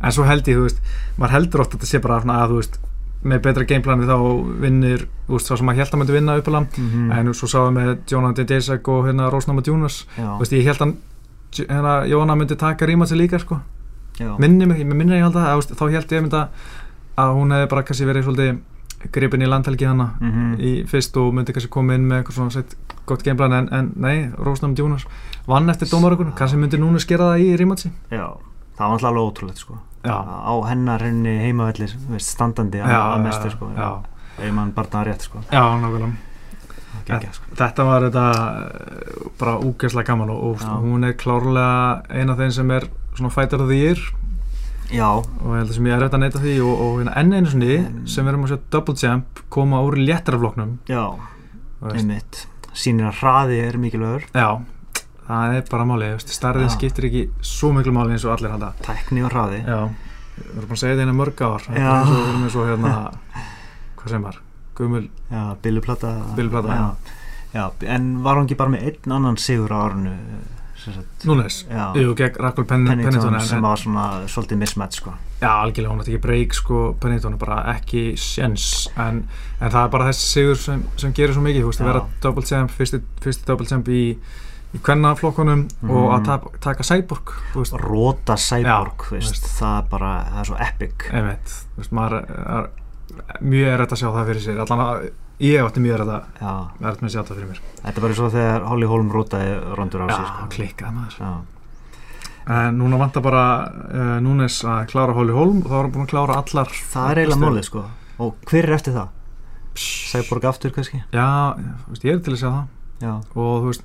en svo held ég, þú veist, maður heldur oft að þetta sé bara svona að, þú veist, með betra gameplani þá vinnir, þú veist, svo sem maður held að myndi vinna uppalam, mm mm. en svo sáum við Jonathan Dezak og hérna Rósnáma Dúnas, já, þú veist, ég held að hérna, Jóna myndi taka rímatsi líka, sko, já, minni mig, ég minni að ég held að, að, þú veist, þá held ég mynda að hún hefði bara kannski verið svolítið gripin í landhelgi hana Mhm. í fyrst og myndi kannski koma inn með eitthvað svona sett gott gameplan en, en nei, Rósnáma Dúnas vann eftir dómarökun, kannski myndi núna skera það í rímatsi já það var alltaf alveg ótrúlegt sko. Já, á hennar henni heimavellir þú veist, standandi að, að mestu sko. já, ef mann barnaðar rétt sko. já, nákvæmlega Gekja, sko. þetta var þetta eh, bara úgeslega gaman og, og Já. hún er klárlega eina af þeim sem er svona fighter of the year já, og ég held sem ég er rétt að neyta því og, og hérna enn einu sinni Mm. sem við erum að sjá double jump koma úr léttarafloknum já, þú veist. einmitt sínir að hraði er mikilvægur já, það er bara máli veist, starðin Já. skiptir ekki svo miklu máli eins og allir halda tækni og hraði já, við erum búin að segja þetta einu mörg ár Þetta er Já. eins og við erum eins og hérna hvað sem var, gumul Já, billuplata Billuplata, já. já, en var hún ekki bara með einn annan sigur á árinu sem sagt, Núnes já, Jú, gegn Rakkul Penn, Pennington Pennington en- sem en- var svona svolítið mismatch sko. Já, algjörlega, hún átti ekki breyk sko, Pennington er bara ekki sjens en, en það er bara þessi sigur sem, sem gerir svo mikið, þú veist, að Já. vera double champ fyrsti, fyrsti double champ í, í kvennaflokkunum og að Mhm. tap, taka Cyborg, þú veist, Rota Já, Cyborg, þú veist, veist. það er bara það er svo epic einmitt, þú veist, maður er, er mjög er að sjá það fyrir sér, allan að ég átti mjög erfitt að já, er að sjá það fyrir mér þetta er bara svo þegar Holly Holm rotaði rondur á sig Já, sko. klikkað maður já, En núna vantar bara uh, Núnes að klára Hóli Hólm og þá er hann búin að klára allar það er eiginlega málið sko. og hver er eftir það? Cyborg aftur kannski Já, þú veist, ég er til að sjá það já, og þú veist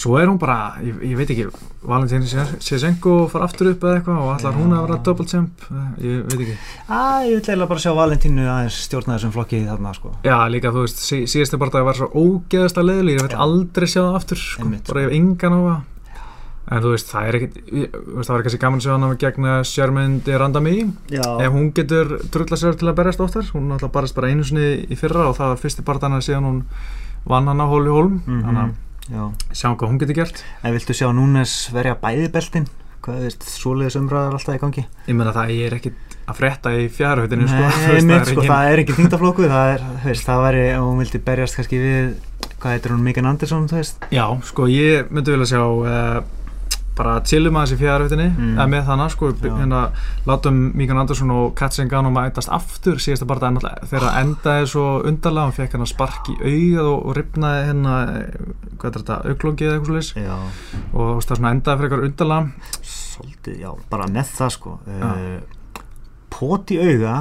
svo er hún bara, ég, ég veit ekki Valentín Sjesenko far aftur upp eða eitthvað og allar Já. hún að vera double champ eh, ég veit ekki, að ég vil eiginlega bara sjá Valentínu aðeins stjórna þessum flokki þarna sko. já líka þú veist sí, síðustu barndag var svo ógeðast að leiðileg ég veit Já. aldrei sjá það aftur sko, Einmitt, bara sko. ef engan á það en þú veist, það er ekkit ég- þú veist, það var kannski gaman að sjá hann gegna Shermund Randami, já, ef hún getur drulla sér til að berjast oftar, hún alltaf barist bara einu sinni í fyrra og það var fyrsti barndana síðan hún vann hann á Hóli Hólm Mhm. þannig já. að sjá hvað hún getur gert En viltu sjá Núnes verja bæði beltin? Hvað veist, svoleiðis umræðar alltaf í gangi? Ég meina það, ég er ekkit að frétta í fjárhautinni sko, Nei, þú veist, einmitt, sko, engin- það er ekki þingtaflokku, það er, þú veist, það væri, ef hún vildi berjast kannski við, hvað heitir hún, Mikael Andersson, þú veist? Já, sko, ég myndi vilja sjá uh, bara chillum aðeins í fjárhautinni Mm. eða með þannig, sko, Já. já. hérna látum Míkan Andersson og Katsengan og mætast aftur síðasta bara en alltaf þegar það endaði svo undarlega, hann fekk hérna spark í augað og, og ripnaði hérna eh, hvað er þetta, auglókið eða eitthvað svoleiðis Já, og þú veist, það svona endaði fyrir eitthvað undarlega svolítið, já, bara með það, sko. Uh, pot í auga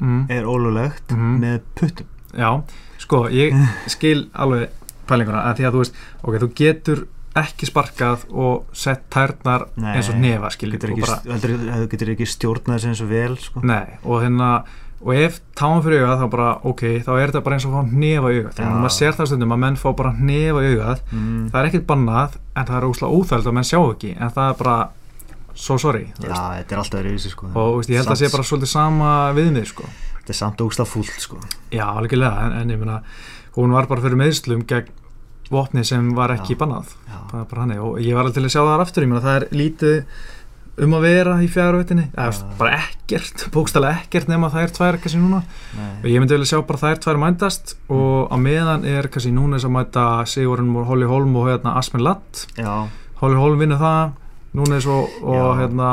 mm. er ólulegt Mhm. með puttum. Já, sko, ég skil alveg pælinguna að því að þú veist, ok, þú getur ekki sparkað og sett tærnar Nei, eins og nefa, Þú skilur getur og ekki, bara, heldur, þú getur ekki stjórnað þessu eins og vel, sko. nei, og hérna og ef táum fyrir augað þá bara, ok þá er þetta bara eins og að fá nefa augað þannig Já. að maður sér það stundum að menn fá bara nefa augað Mm, það er ekkert bannað, en það er óslega óþæld að menn sjá ekki, en það er bara so sorry, þú já, veist þetta er alltaf öðruvísi, sko. og þú veist, ég held að Samt- sé bara svolítið sama viðmið, sko Þetta er samt ógsta fúlt, sko. Já, algjörlega, en, en ég meina hún var bara fyrir meðslum gegn vopni sem var ekki Já. bannað Já. það er bara hannig og ég var alveg til að sjá það aftur ég meina það er lítið um að vera í fjárvettinni, eða þú veist, Já. bara ekkert bókstælega ekkert nema það er tvær kannski núna og Nei. ég myndi vilja sjá bara það er tvær mændast og á meðan er kannski núna þess að mæta Sigurinn og Holly Holm og hérna Asmin Latt Já, Holly Holm vinnur það, núna er svo og Já. hérna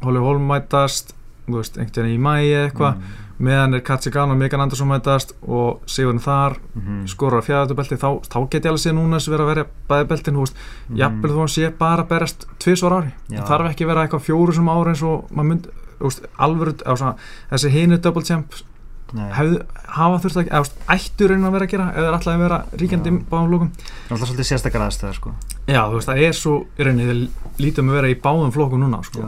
Holly Holm mætast þú veist, einhvern veginn í mæi eða eitthvað Mm. meðan er Katsi Gana og Megan Andersson mætast og Sigurinn þar Mhm. skorur á fjæðatöbelti þá, þá get ég alveg séð núna sem vera að verja bæði beltin húst mm. Mhm. jafnvel þó hann sé bara að berast tvisvar ári Já. það þarf ekki að vera eitthvað fjóru sem ári eins og maður mynd úst, alvöru, á, svona, þessi hinu double champ Nei, það hefðu, hafa þurft að, eða, úst, ættu raunin að vera að gera eða er alltaf að vera ríkjandi Já. báðum lókum er alltaf svolítið sérstakar aðstöðar sko. já, þú veist, það er svo í rauninni, þeir lítum að vera í báðum flokku núna, sko,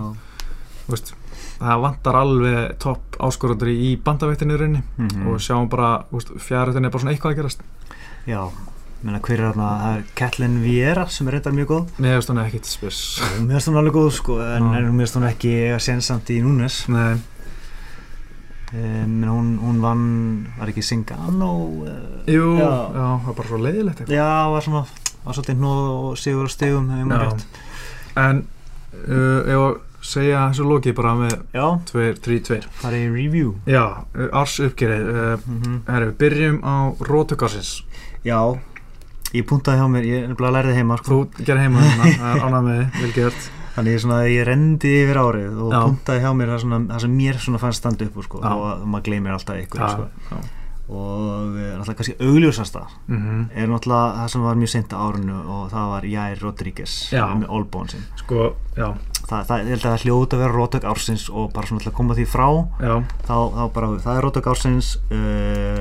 þú veist það vantar alveg topp áskorundur í bandaveitinu í rauninni Mhm. og sjáum bara, þú veist, fjárhættin er bara svona eitthvað að gerast já, menna hver er þarna það er Kathleen Vieira sem er reyndar mjög góð mér veist hún er ekkit spes og mér finnst hún alveg góð sko en, Já. en mér finnst hún ekki eiga sensamt í Núnes Nei, um, hún, hún vann, var ekki Singano uh, jú, já. Já. það er bara svo leiðilegt eitthvað já, var svona var svolítið hnóð og sigur á stigum ef ég maður Já. rétt en uh, ef að segja þessu lokið bara með já, 2-3-2 það er í review já, uh, árs uppgerið uh, mm herru, byrjum á rótugarsins já, ég puntaði hjá mér ég er bara að læra þið heima sko þú gerir heima hérna, það er ánað með þig, vel gert Þannig ég svona, ég rendi yfir árið og Já. punktaði hjá mér það, svona, það sem mér svona fannst standa upp úr sko, Já. og maður gleymir alltaf ykkur sko. já. og eh, náttúrulega kannski augljósasta Mhm. er náttúrulega það sem var mjög seint á árinu og það var Jair Rodríguez Já. með Olbón sin sko, já, það, það, ég held að það hljóta að vera rótök ársins og bara svona til að koma því frá já þá, þá bara, það er rótök ársins uh,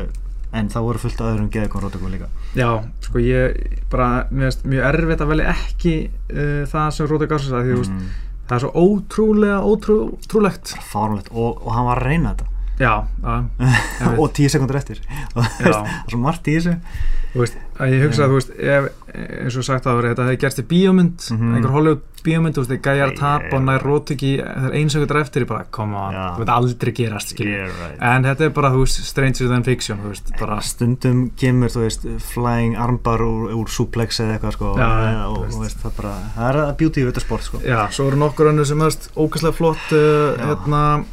en það voru fullt af öðrum geðugum rótökum líka Já, sko ég bara, mér finnst mjög erfitt að velja ekki uh, það sem Róta Garsins að því, þú veist, mm, það er svo ótrúlega, ótrúlegt fáránlegt og, og hann var að reyna þetta Já, að, Einmitt. og tíu sekundur eftir og það já, er svo margt í þessu þú veist, að ég hugsa að, þú veist, ef, eins og sagt að vera, þetta hefði gerst í bíómynd, Mhm. einhver Hollywood bíómynd, þú veist, þegar gæjar Nei, tap og nær Róta ekki, það er einsökundar eftir, ég bara, koma, Já. þú veit aldrei gerast, skiljum. yeah, right. En þetta er bara, þú veist, stranger than fiction, þú veist, bara, stundum kemur, þú veist, flying armbar úr, úr suplex eða eitthvað, sko, Já, eða, þú og, veist. og veist, það bara, það er að beauty við þetta sport, sko. já, svo eru nokkur önnur sem hefðist ógæslega flott, uh, Já. hérna, uh,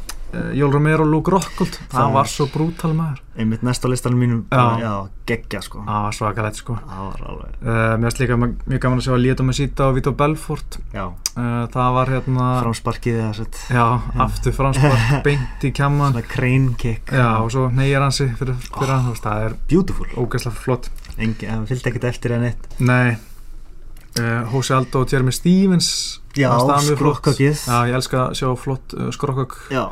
Jól Romero og Luke Rockhold, það Það- var svo brútal maður. Einmitt næst á listanum mínum, Já. bara, já, geggja, sko. Það var svakalegt sko. Það var alveg, Uh, mér finnst líka ma- mjög gaman að sjá að Lieto Mesita og Vito Belfort. já, Uh, það var hérna, framsparkið eða sett, já, aftur franskvart, beint í kemman. svona crane kick, Já, og svo neyjar hansi fyrir, fyrir hann, þú veist, það er beautiful, ógeðslega flott. Engi, það fylgdi ekkert eftir en eitt. Nei, uh, Hosea Aldo og Jeremy Stevens. Já, fannst það mjög flott. skrokkakið, Já, ég elska að sjá flott uh, skrokkök. já,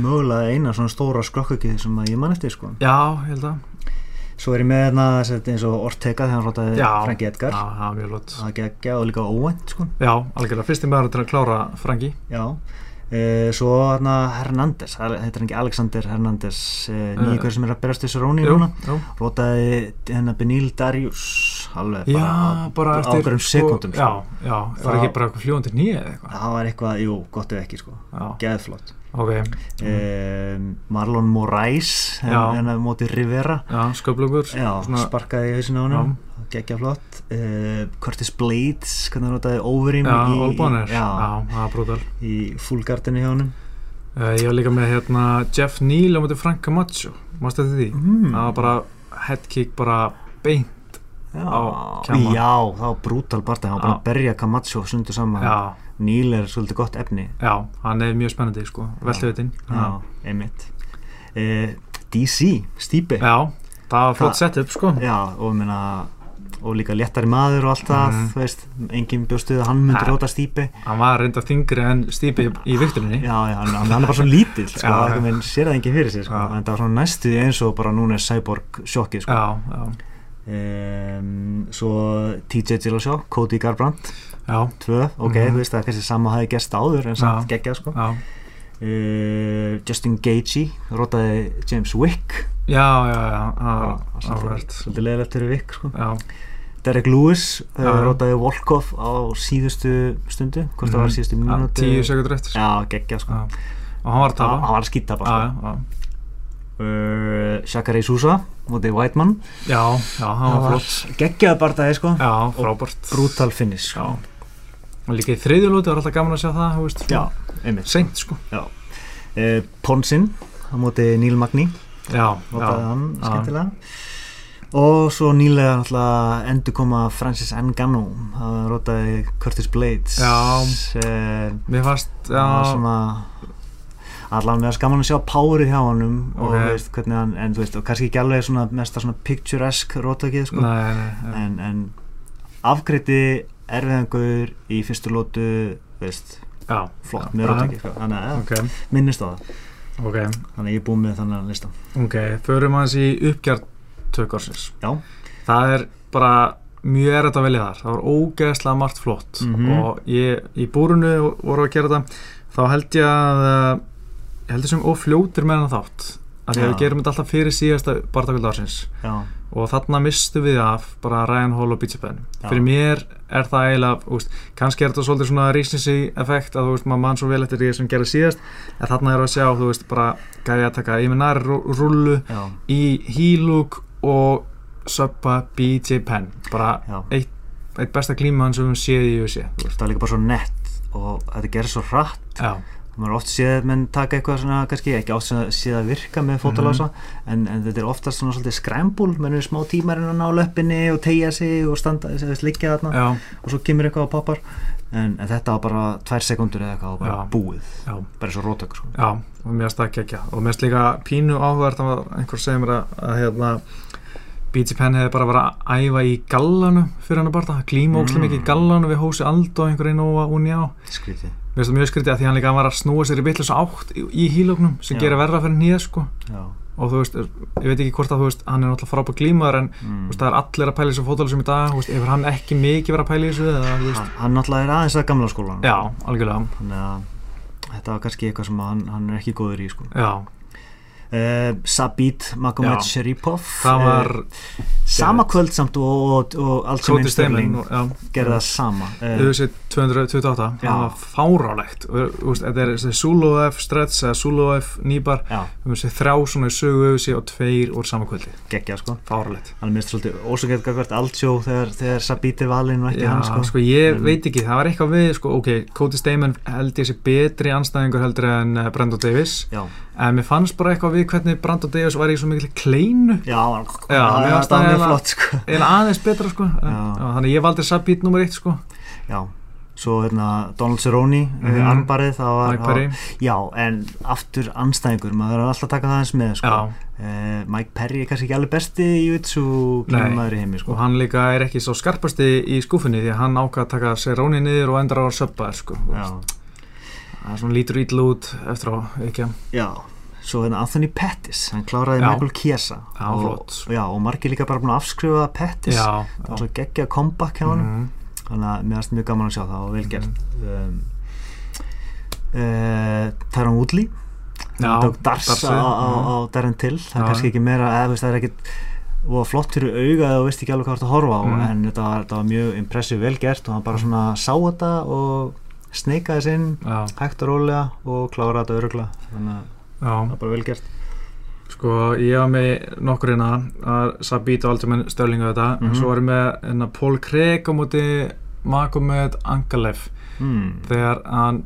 mögulega eina svona stóra skrokkakið sem að ég man eftir, sko. Já, ég held að. Svo er ég með hérna, sett, eins og Ortega þegar hann rotaði Já. Frankie Já, Edgar, það var mjög flott. það geggja og líka óvænt, sko. Já, algjörlega, fyrsti maður til að klára Franki. Já, uh, svo hérna Hernández, það heitir hann ekki Alexander Hernández, uh, nýgur sem er að berast þessu róni núna, Eh. jú. rótaði hennar Benil Darius, alveg Já, bara á eftir okkurum sko- sekundum, sko. Já, já, það var Það- ekki bara eitthvað fljóðandi nýja eða eitthvað það var eitthvað, jú, gott ef ekki, sko, Já, geðflott. ok, Mm. Marlon Moraes, Já. hennar móti Rivera, já, sköflugur já, svona- sparkaði í hausinu á hann, geggja flott, uh, Curtis Blades, hvernig hann rótaði Overeem Já, í, í- Olbónir, já, já, það er brútal í fullgardinu hjá hann. uh, Ég var líka með hérna Jeff Neal á móti Frank Camacho, mástu þetta því? Mm. Það var bara headkick bara beint á Já, Kjaman. já, það var brútal barða, hann var bara Já. að berja Camacho sundu saman, Já, Níl er svolítið gott efni, já, hann er mjög spennandi sko, velhauðin já, einmitt. Eh, DC, Stípi, já, já, það var flott Það- setup sko og, minna, og líka léttari maður og allt það, Mhm. þú veist, enginn bjóstuð að hann myndi Ha. róta Stípi, Hann var reynda þingri en stípi í viktuninni já, já, hann, hann er bara svo lítill, sko, Já, það já. minn sér það enginn fyrir sér, sko, Já. en það var svona næstu því eins og bara núna er Cyborg sjokkið, sko. Já, já, Um, svo TJ Dillashaw, Cody Garbrandt, já, tvö, ok, Mhm. þú veist, það er kannski sama hafi gerst áður, en samt geggjað, sko. já, uh, Justin Gaethje rótaði James Wick Ah, já, já, já, já, áhverjart svolítið leðilegt fyrir Wick sko. Já, Derek Lewis Já, uh, já. rótaði Volkov á síðustu stundu hvort það var Mhm. já, síðustu mínúti tíu sekundur eftir sko. já, geggja sko Já. og hann var að það tapa var að skýta Já, bara sko. já, já. uh, Shakari Sousa mótið Whiteman Ah, Já, já, það var flott geggjaði bara það sko. Já, frábært brutal finish sko. Já. Og líka í þriðjulóti var alltaf gaman að sjá það, þú veist já, einmitt Seint, sko uh, Ponsin hann mótið Neil Magni Já, notaði já, hann já. skemmtilega og svo nýlega náttúrulega endur koma Francis Ngannou það rotaði Curtis Blades Já. eh, mér fannst það Já, var svona allan við að skaman að sjá párið hjá honum og Ok. veist hvernig hann, en þú veist og kannski ekki alveg svona mesta svona picturesque rótakið sko, nei, nei, nei en, en afgreiti erfiðangur í fyrstu lótu veist, Já, sko. Já. flott með Já. rótakið sko. þannig að ok, ja, minnist á það ok þannig að ég er búinn með þannig að lista Ok, förum aðeins í uppgjart tökarsins Já. Það er bara mjög erfitt að velja þar það var ógeðslega margt flott Mhm. og ég, í búrunu voru að gera þetta þá held ég að eh, ég held ég sem ófljótir með hann þátt að því að Já. við gerum þetta alltaf fyrir síðasta barndagöld ársins já, og þarna mistum við af bara Ryan Hall og Beachy Ben Já. fyrir mér er það eiginlega úst, kannski er þetta svolítið svona rísnissi effekt að þú veist maður mann svo vel eftir því sem gerði síðast en þarna er að sjá þú veist bara gæði að taka Iminar rullu já, í Hiluk og söppa Beachy Ben bara já eitt besta klíma hann sem við höfum séð í USA þú veist. það er líka bara svo nett og þetta gerir svo hratt Já, maður oft séð menn taka eitthvað svona kannski ekki oft séð séð að virka með Mhm. fótalása en, en þetta er oftast svona svolítið skræmbúl menn er smá tímarinn að ná löppinni og tegja sig og standa, þess, liggja þarna já, og svo kemur eitthvað og poppar en, en þetta var bara tvær sekundur eða eitthvað og bara Já. búið já bara svo rótökur sko. Já, og mér finnst það ekki ekki og mér finnst líka pínu áhugavert að einhver segir mér að, að hérna, BG Penn hefði bara verið að æfa í gallanu fyrir hann að barða, glíma ógslum mikið í Mm. gallanu við hósi Aldo og einhverju Nova Uniá mér skrítið finnst það mjög skrítið að því hann líka var að snúa sér í vitlega átt í, í hílóknum sem Já. gerir verra fyrir nýja sko já. og þú veist, ég veit ekki hvort að þú veist hann er náttúrulega frábæð glímaður en Mm. þú veist, það er allir að pæla í þessu fótalisum í dag þú veist, hefur hann ekki mikið verið að pæla í þessu eða, þú veist, hann, hann náttúrulega er aðeins að gamla skólan já, algjörlega þannig að þetta var kannski eitthvað sem hann, hann er ekki góður í sko. já, uh, Sabit Magomed Já. Sharipov það var Eh, sama kvöld samt og, og, og allt sem Cody Stamlin og- já. gerði það sama uh, UFC 228 Eh. Já. það var fárálegt og, þú veist, þetta er þessi Zuluef stretch eða Zuluef nýbar já, um þessi þrjá svona í sögu UFC og tveir úr sama kvöldi geggja sko fárálegt hann er minnst svolítið ósöngið hvert allsjó þegar, þegar Sabit er valinn og ekki Já, hann sko, sko ég Mm. veit ekki, það var eitthvað við sko, ok, Cody Stamen held ég sé betri anstæðingur heldur en eh, Brando Davis já, en mér fannst bara eitthvað við hvernig Brando Davis var í svo mikil kleinu já, hann- Já, mér það fannst það var það mjög eiginlega- flott sko en aðeins betra sko en, Já. já, þannig ég valdi Sabit nummer eitt sko Já, svo hérna Donald Cerrone, mm Mhm. armbarið það var, Mike Perry, Já, en aftur anstæðingur, maður verður alltaf að taka það eins með sko. já, uh, Mike Perry er kannski ekki alveg besti í jutsu Nei. klíma maður í heimi og sko. hann líka er ekki svo skarpasti í skúfunni því að hann ákvað að taka sér róni niður og endra á að söppa þér sko Já, það er svona lítur ítl út eftir á ekki já Svo hérna Anthony Pettis, hann kláraði Já. Michael Chiesa Já, og, flott. Já, og margir líka bara búin að afskrifa Pettis já, Það var svo geggja comeback hjá hann Mhm. Þannig að mér varst mjög gaman að sjá það og vel gert Mm. um, uh, Tyron Woodley já, Mhm. hann tók dars Darsi, á, á, já. á Darren Till það Já, er kannski ekki meira eða, þú veist, það er ekkit og flott fyrir auga eða þú veist ekki alveg hvað þú ert að horfa á Mhm. en þetta var, þetta var mjög impressiv vel gert og hann bara svona sá þetta og sneikaði sinn já, hægt og rólega og kláraði þetta örugla þannig að það já, var bara vel gert sko ég var með nokkur hérna að Sabit og Alderman Störlingu þetta en Mhm. svo erum við hérna, Paul Craig á móti Magomed Angalev mm. þegar hann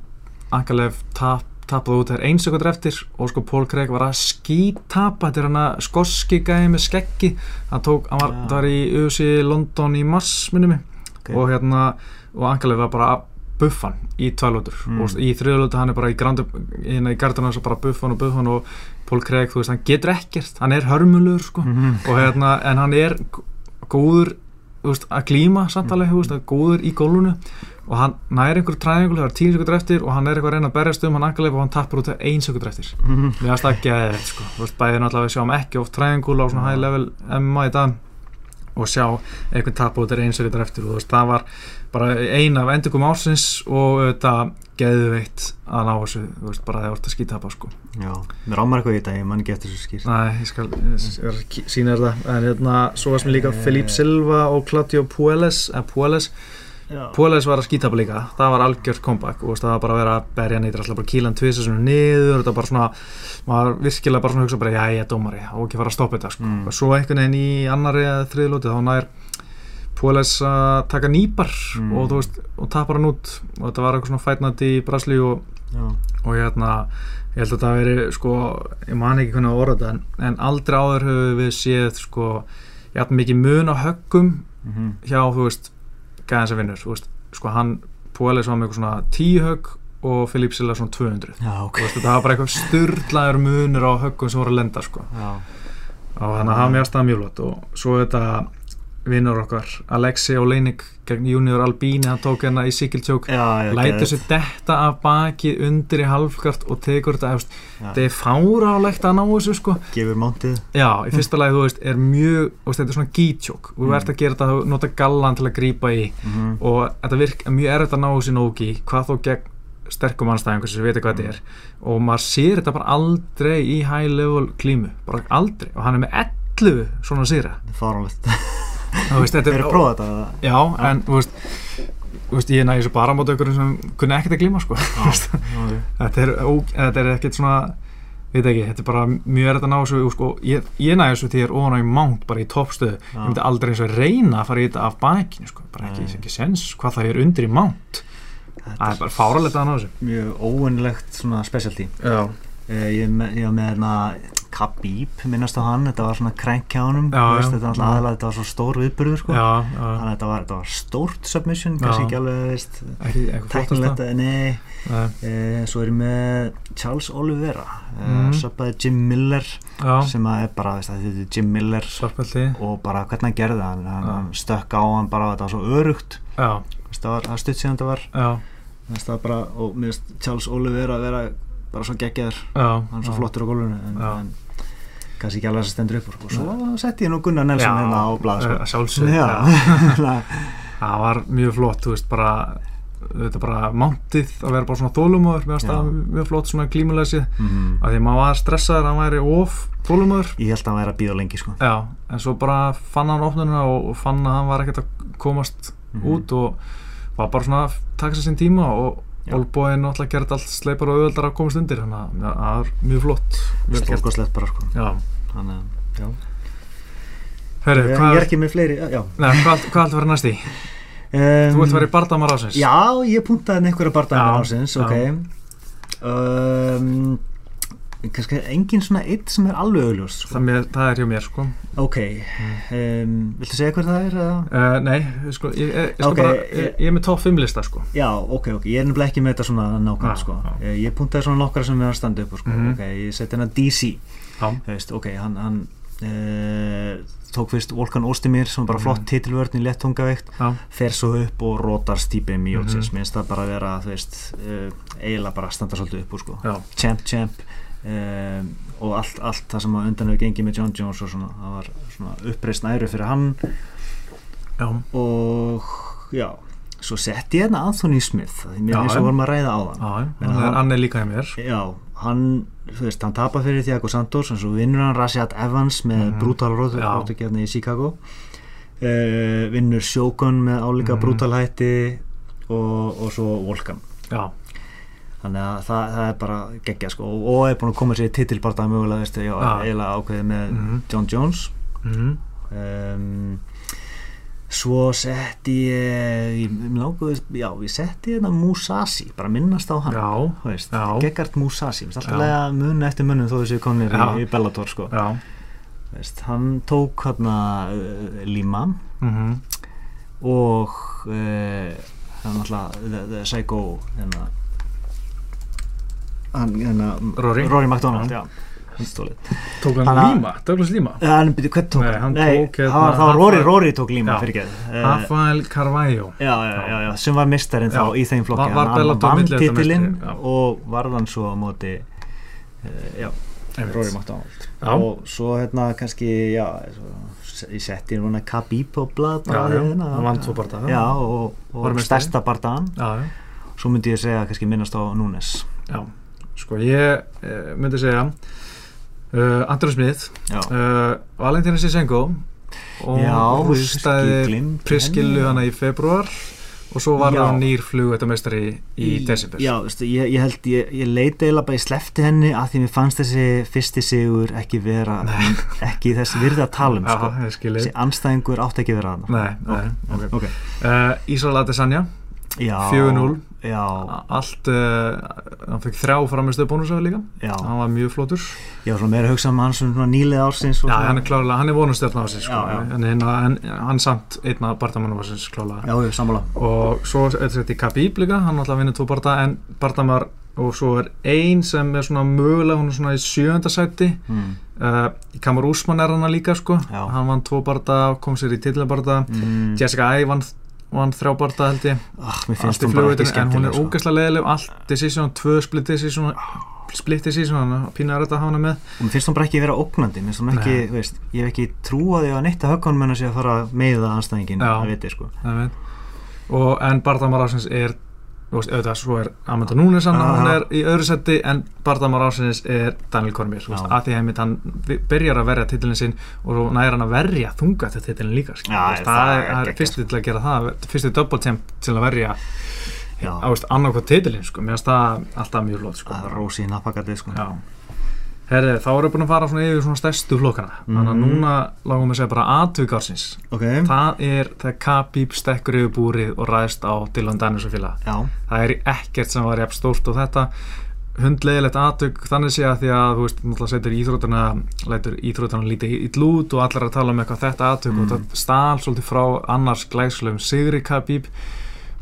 Angalev tap tapaði út þær einsekundur eftir og sko Paul Craig var að skítapa þetta er hann að skoski gæði með skeggi hann tók, hann var, Já. það var í UFC London í mars minni mig Ok. og hérna, og Angalev var bara að buffa hann í tvælótur Mm. og í þriðlótur hann er bara í grandu hérna í gardinu hans og bara buffa hann og buffa hann og Paul Craig, þú veist, hann getur ekkert hann er hörmulur sko Mhm. og hérna, en hann er g- góður þú veist, að glíma samtalið, þú veist, að góður í gólunu og hann næri einhver træðingul, það er tíu sekundur eftir og hann er eitthvað að reyna að berjast um hann angalef og hann tappar út ein sekundur eftir mér Mhm. finnst það ekki að þetta sko, þú veist, bæði náttúrulega við sjáum ekki oft træðingul á svona high level MMA í dag og sjá einhvern tappa út ein sekundur eftir og þú veist, það var bara eina af endingum ársins og þetta geðveitt að ná þessu, þú veist, bara þegar þú ert að skítapa sko já, mér rámar eitthvað í þetta ég mann ekki eftir þessu skýr Nei, ég skal ég er að sína þér það en hérna, svo varst mér líka Felipe Silva og Claudio Puelles eh, Puelles, Puelles var að skýta upp líka það var algjört comeback og þú veist, það var bara að vera að berja neytir alltaf bara kílan tvisa sem niður þetta var bara svona, maður var virkilega bara svona að hugsa bara, já, ég er dómari, á ekki að fara að stoppa þetta sko. Mm. og svo einhvern veginn í annari eða þriði lóti þá nær Puelles að taka nýpar Mm. og þú veist, og tapar hann út og þetta var eitthvað svona fætnandi í Brasli og já, og hérna, ég held að það veri sko, ég man ekki hvernig að orða þetta en, en aldrei áður höfum við séð sko, ég hætti mikið mun á höggum Mhm. hjá, þú veist gæðan sem vinnur, þú veist, sko hann Pólis var með eitthvað svona 10 högg og Filip Silla svona 200 já, ok Þú veist, þetta var bara eitthvað styrlaður munur á höggum sem voru að lenda sko já, og þannig að hafa mjög aðstæða mjög flott og svo þetta vinnur okkar Alexi Oleinik gegn Junior Albini hann tók hérna í sikiltjók já, já, lætur geðveikt. sér detta af baki undir í halvkart og tekur þetta efst. Já. þetta er fárálegt að ná þessu sko gefur mántið já, í fyrsta lagi þú veist er mjög, þú veist, þetta er svona gítjók og þú Mm. ert að gera þetta, þú nota gallan til að grípa í Mhm. og þetta virk er mjög erfitt að ná þessu nógi hvað þó gegn sterkum anstæðingur sem veitir Mm. hvað þetta er og maður sér þetta bara aldrei í high level klímu, bara aldrei og hann er með 11 svona sýra Þetta er fáránlegt Þú veist, þetta þeir eru að prófa þetta eða? Já, en þú veist, þú veist ég næði þessu bara á móti okkur sem kunni ekkert að glíma sko. Þú veist, Ok. þetta, er ó, þetta er ekkert svona veit ekki, þetta er bara mjög erfitt að ná þessu og sko, ég, ég næði þessu því ég er ofan á í mount bara í toppstöðu, ég Já. myndi aldrei eins og reyna að fara í þetta af bakinu sko. bara ekki, Nei. ekki sens hvað það er undir í mount þetta það er bara fáralegt að ná þessu mjög óunilegt svona specialty Já, Eh, ég, er með- ég var með hérna Khabib minnast á hann, þetta var svona krænk hjá honum Já, þú veist, já. þetta var alltaf aðalega, þetta var svo stór viðburður sko. já, já þannig að þetta var, þetta var stórt submission, Já. kannski ekki alveg veist, ekki eitthvað tæknilegt, eh, flottasta. nei Nei, e, svo er ég með Charles Oliveira e, Mm. subbaði Jim Miller Já, sem að er bara, veist, að þetta er Jim Miller svarpöldi og bara hvernig hann gerði það, hann, hann, Já. hann stökk á hann bara, þetta var svo örugt Já, veist, það var það var stutt síðan þetta var já, veist, það var bara, og mér finnst Charles Oliveira að vera bara svo geggjaður já hann er svo já. flottur á gólfinu en, Já. en kannski ekki alveg að stendur upp úr sko. svo setti ég nú Gunnar Nelson Já, hérna á eh, blað sko. að sjálfsög Já. það var mjög flott þú veist bara þetta bara mántið að vera bara svona þólumöður með Já. að mjög flott svona glímulegsi Mhm. að því maður var stressaður að hann væri of þólumöður ég held að hann væri að býða lengi sko. já, en svo bara fann hann opnuna og, og fann að hann var ekkert að komast Mhm. út og var bara svona að taka sér sín tíma og Já. Olbói náttúrulega gerði allt sleipar og auðveldar að komast undir þannig að að það var mjög flott vel gert. stórkoslegt bara sko. já, hann, já. herru, Ég, hvað ég er ekki með fleiri já, já. Nei, hvað, allt- hvað allt verið næst í? Um, Þú ert verið bardamar ásins já, ég puntaði henni einhverja barndagar Já, ásins já. ok um, kannski engin svona eitt sem er alveg augljós það, sko. mér, það er hjá mér sko ok um, viltu segja hver það er? eða? Uh, nei, sko, ég, ég, ég, sko Ok, bara, ég- ég, ég er með top 5 lista sko. Já, ok, ok, ég er nefnilega ekki með þetta svona nákvæmlega Já, sko. já. Eh, Ég puntaði svona nokkra sem við hann standa upp úr, sko. Mhm. ok, ég seti hennar DC Já, þú veist, ok, hann, hann uh, tók fyrst Volkan Óstimir sem Mhm. var bara flott titilvörn í lettungaveikt já, fer svo upp og rótar stípi Miocic, Mhm. minnst það bara að vera þú veist, uh, eiginlega bara standa svolítið upp úr sko. já, champ, champ um, og allt, allt það sem á undan hefur gengið með John Jones og svona, það var svona uppreist næru fyrir hann já, og já, svo setti ég hérna Anthony Smith, því mér Já, finnst já. við vorum að ræða á þann já, En hann hann- er annir líka hjá mér Já, hann, þú veist, hann tapar fyrir Thiago Santos en svo vinnur hann Rashad Evans með Mhm. brútal rótu Já. hérna í Chicago uh, vinnur Shogun með álíka Mhm. brútal hætti og, og svo Volkan Já, þannig að það, það er bara geggja sko og, og er búin að koma sér í titilbarta mögulega veist, já, Já. eiginlega ákveðið með Mhm. John Jones mm, um, svo setti ég ég- mig langaði, já, ég setti hérna Musashi, bara minnast á hann já, þú veist, Já. Gegard Mousasi mér finnst alltaf Já. lega munna eftir munnum þó þessu konir í, Já. í Bellator sko. já Þú veist, hann tók hérna uh, Lima mhm, og uh, hann alltaf the, the Psycho hérna hann, hérna, Rory. Rory McDonald Já. já, hann stólið Tók hann Hann- líma, Douglas líma Eh, hann byrju, hvern tók Nei, hann tók, það hérna, var, það var Rafael- Rory, Rory tók Lima Já. fyrir geð Eh, Rafael Carvalho Já, já, já, já, sem var mistarinn þá Já. í þeim flokki Var- var Hann- Bellator hann vann millileita titilinn meistari, já. og varðan svo á móti uh, já, Einmitt. Rory McDonald Já. og svo hérna kannski já, svo, s- ég setti hérna Khabib og blað bara Já, því já, hérna. hann vann tvo bardaga. já, og, Var og meistari. stærsta bardaðan Já, já, svo myndi ég segja kannski minnast á Núnes já Sko, ég eh, myndi segja uh, Andrés Smith já, uh, Valentína Sisenko Já, og ég hústaði gleymdi henni. priskilu hana í februar og svo var Já. hann nýr flugvetamestari í, í desember já, veistu, ég, ég held, ég, ég leita eiginlega bara, ég slefti henni að því mér fannst þessi fyrsti sigur ekki vera ekki þess virði að tala um sko. Já, ég skilið þessi anstæðingur átti ekki að vera þarna Nei, nei, ok ok Uh, Ísrael Adesanya, já, 4-0. já, allt, uh, hann fekk þrjá framistu bónusa líka, já, hann var mjög flótur ég var svona meira að hugsa um hann sem svona nýlega ársins og Já, svona- hann er klárlega, hann er vonustjörn á sig sko, Já, já. en hinn, hann, hann samt einn af bardamann var sinns klárlega já, já, sammála og svo er þetta í Khabib líka, hann alltaf vinnur tvo barda en bardamar og svo er ein sem er svona mögulega, hún er svona í sjöönda sæti mm. uh, Kamur Úsmann er hann líka sko Já. hann vann tvo barða, kom sér í tillabarða mm, Jessica Æ vann, vann þrjá barða held ég oh, mér allt finnst í hún bara ekki flugutinu, en hún skemmtileg er sko. ógæslega leiðileg allt decision, tvö split decision split decision, hann pínar þetta að hafa hana með og mér finnst hún bara ekki vera ógnandi mér finnst hún ekki, Nei. þú veist, ég hef ekki trúaði á neitt að höggunum hennar sé að fara að meiða anstæðingin Já. að viti sko það veit. og en barðamar ásins er þú veist, auðvitað, svo er Amanda Núnes hann, Aha. hann er í öðru seti, en barðamar ásins er Daniel Cormier, þú veist, Já. að því heimitt hann vi- byrjar að verja titilin sinn og svo næra hann að verja þunga til titilin líka skilur, Já, þú veist, það það, er er, það geggjað, sko. er fyrsti til að gera það fyrsti double temp til að verja Já. á annarkvað titilin, sko, mér finnst það alltaf mjög lót, sko að rósi í nappakatið sko Já Herri, þá erum við búin að fara svona yfir svona stærstu flokkana Þannig að Mhm. núna langum við að segja bara atvíkarsins ok, Það er þegar K-Bíb stekkur yfir búrið og ræðist á Dylan Daniels og félaga já, Það er ekkert sem var jafn stórt og þetta hundlegilegt atvík þannig sé að því að þú veist, náttúrulega setur íþrótana lætur íþrótana lítið ill út og allar að tala um eitthvað þetta atvík Mhm. og það stál svolítið frá annars glæslegum sigri K-Bíb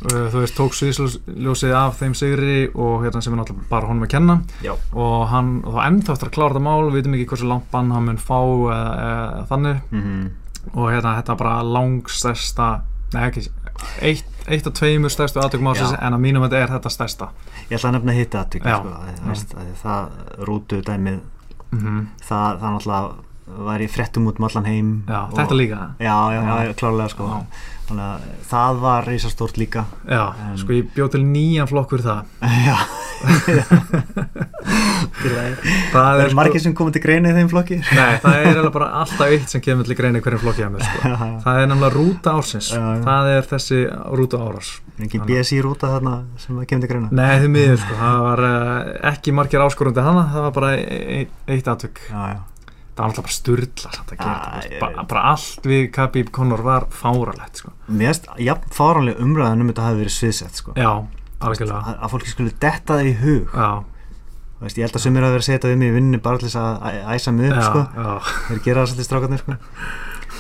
þú veist, tók sviðsljósið af þeim sigri og hérna sem er náttúrulega bara honum að kenna já og hann og það ennþá eftir að klára þetta mál við veitum ekki hversu langt bann hann mun fá eða, eða þannig mhm, og hérna þetta bara langstæsta nei ekki, eitt, eitt af tveimur stærstu aðtökum ásins Já. en að mínum þetta er þetta stærsta ég ætla að nefna hitt aðtök Já. sko, að, Já. veist, að það rútu dæmið mm Mhm. -hmm. það, það náttúrulega var í fréttum út um allan heim já, og- þetta líka já, já, já, klárlega sko Já. þannig að það var reysastórt líka já, En- sko ég bjóð til nýjan flokkur það já Til að- það sko- það er margir sem komið til greina í þeim flokki nei, það er eiginlega bara alltaf eitt sem kemur til greina í hverjum flokki að mér sko. það það er nefnilega rúta ársins Já, já. það er þessi rúta árás er ekki BSI rúta þarna sem það kemur til greina Nei, þið miður sko, það var uh, ekki margir áskorandi hana, það var bara e- e- eitt aðtök. já, já, Það var alltaf bara sturla samt að gera Ah, þetta, ég bara, veit. bara allt við Khabib Conor var fáralegt sko. mér erst jafn fáranlega umræðan um þetta hafi verið sviðsett sko Já, algjörlega, að, að fólki skulle detta það í hug já, Þú veist, ég held að sumir hafi verið að setja við mig í vinninni bara til þess að æ- æsa mig upp já, sko já, þeir gera það svolítið strákarnir sko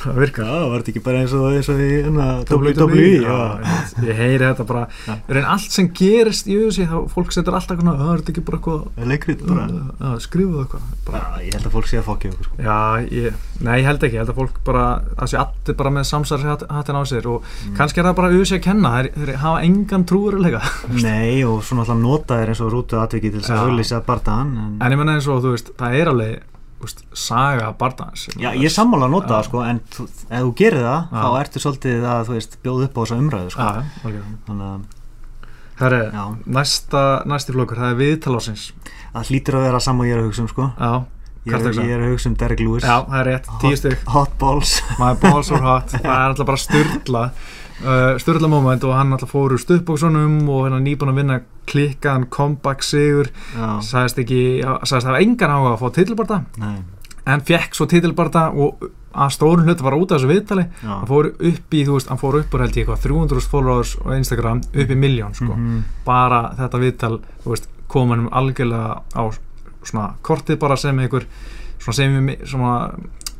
það virka. Já, var þetta ekki bara eins og, eins og í hérna, WWE já. E, já. Ég heyri þetta bara, Já. reyn allt sem gerist í öðusi, þá fólk setur alltaf svona, það er þetta ekki bara eitthvað, Leikrit bara uh, uh, skrifuðu eitthvað, bara Já, Ég held að fólk sé að fokki okkur sko Já, ég, nei, ég held ekki, ég held að fólk bara, að sé allir bara með samsæðishattin á sér og kannski er það bara auðvitað að kenna, þeir, þeir hafa engan trúurilega. Nei, og svona alltaf nota þér eins og rútu atvikið til þess Já. að auðlýsa bardaðan en, En ég menna eins og, þú veist, það er alveg, þú veist, saga barndans. Já, ég er sammála að nota það sko en þú, ef þú gerir það, Já. þá ertu svolítið að þú veist, bjóð upp á þessa umræðu sko Já, ok. Þannig að Herri, Já. næsta, næsti flokkur, það er viðtalásins. það hlýtur að vera saman ég er að hugsa um sko Já, Ég er, Karl Hugsa. ég er að hugsa um Derek Lewis já, það er rétt, tíu stygg. Hot balls My balls are hot, það er alltaf bara styrla, uh, styrla moment og hann alltaf fór úr stuðbóksunum og hérna nýbúin að vinna klikkaðan comeback sigur Já, sagðist ekki, sagðist hafa engan áhuga að fá titilbarta nei, en fekk svo titilbarta og að stórun hlut var út af þessu viðtali já hann fór upp í, þú veist, hann fór upp úr held ég eitthvað 300 followers á Instagram upp í miljón sko, Mhm. bara þetta viðtal þú veist, kom hann algjörlega á svona kortið bara sem einhver svona sem svona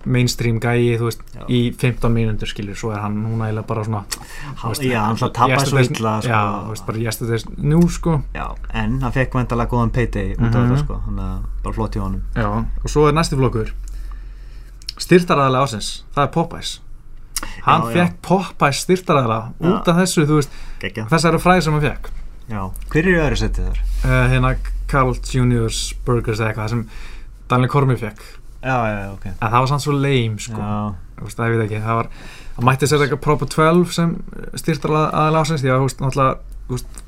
mainstream gæi, þú veist, Já. í 15 mínútur skilur, svo er hann núna eiginlega bara svona þú veist, Já, hann alltaf tapaði svo yesterday's- illa sko. já, þú veist, bara yesterday's nú sko Já, en hann fekk vendalega góðan payday út af Mhm. þetta sko, þannig að bara flott í honum. Já, og svo er næsti flokkur styrtaræðilega ásins, það er Popeyes hann Já, já. fekk Popeyes styrtaræðilega út af þessu, þú veist, Gekja. þessari fræði sem hann fekk Já, hver er í öðru setið þar? uh, hérna Carl Juniors Burgers eða eitthvað sem Daniel Cormier fekk Já, já, já, ok. en það var samt svo lame, sko Já, þú veist, það ég veit ekki, það var hann mætti sér eitthvað Proper 12 sem styrtaræðilega ásins, því að, þú veist, náttúrulega þú veist,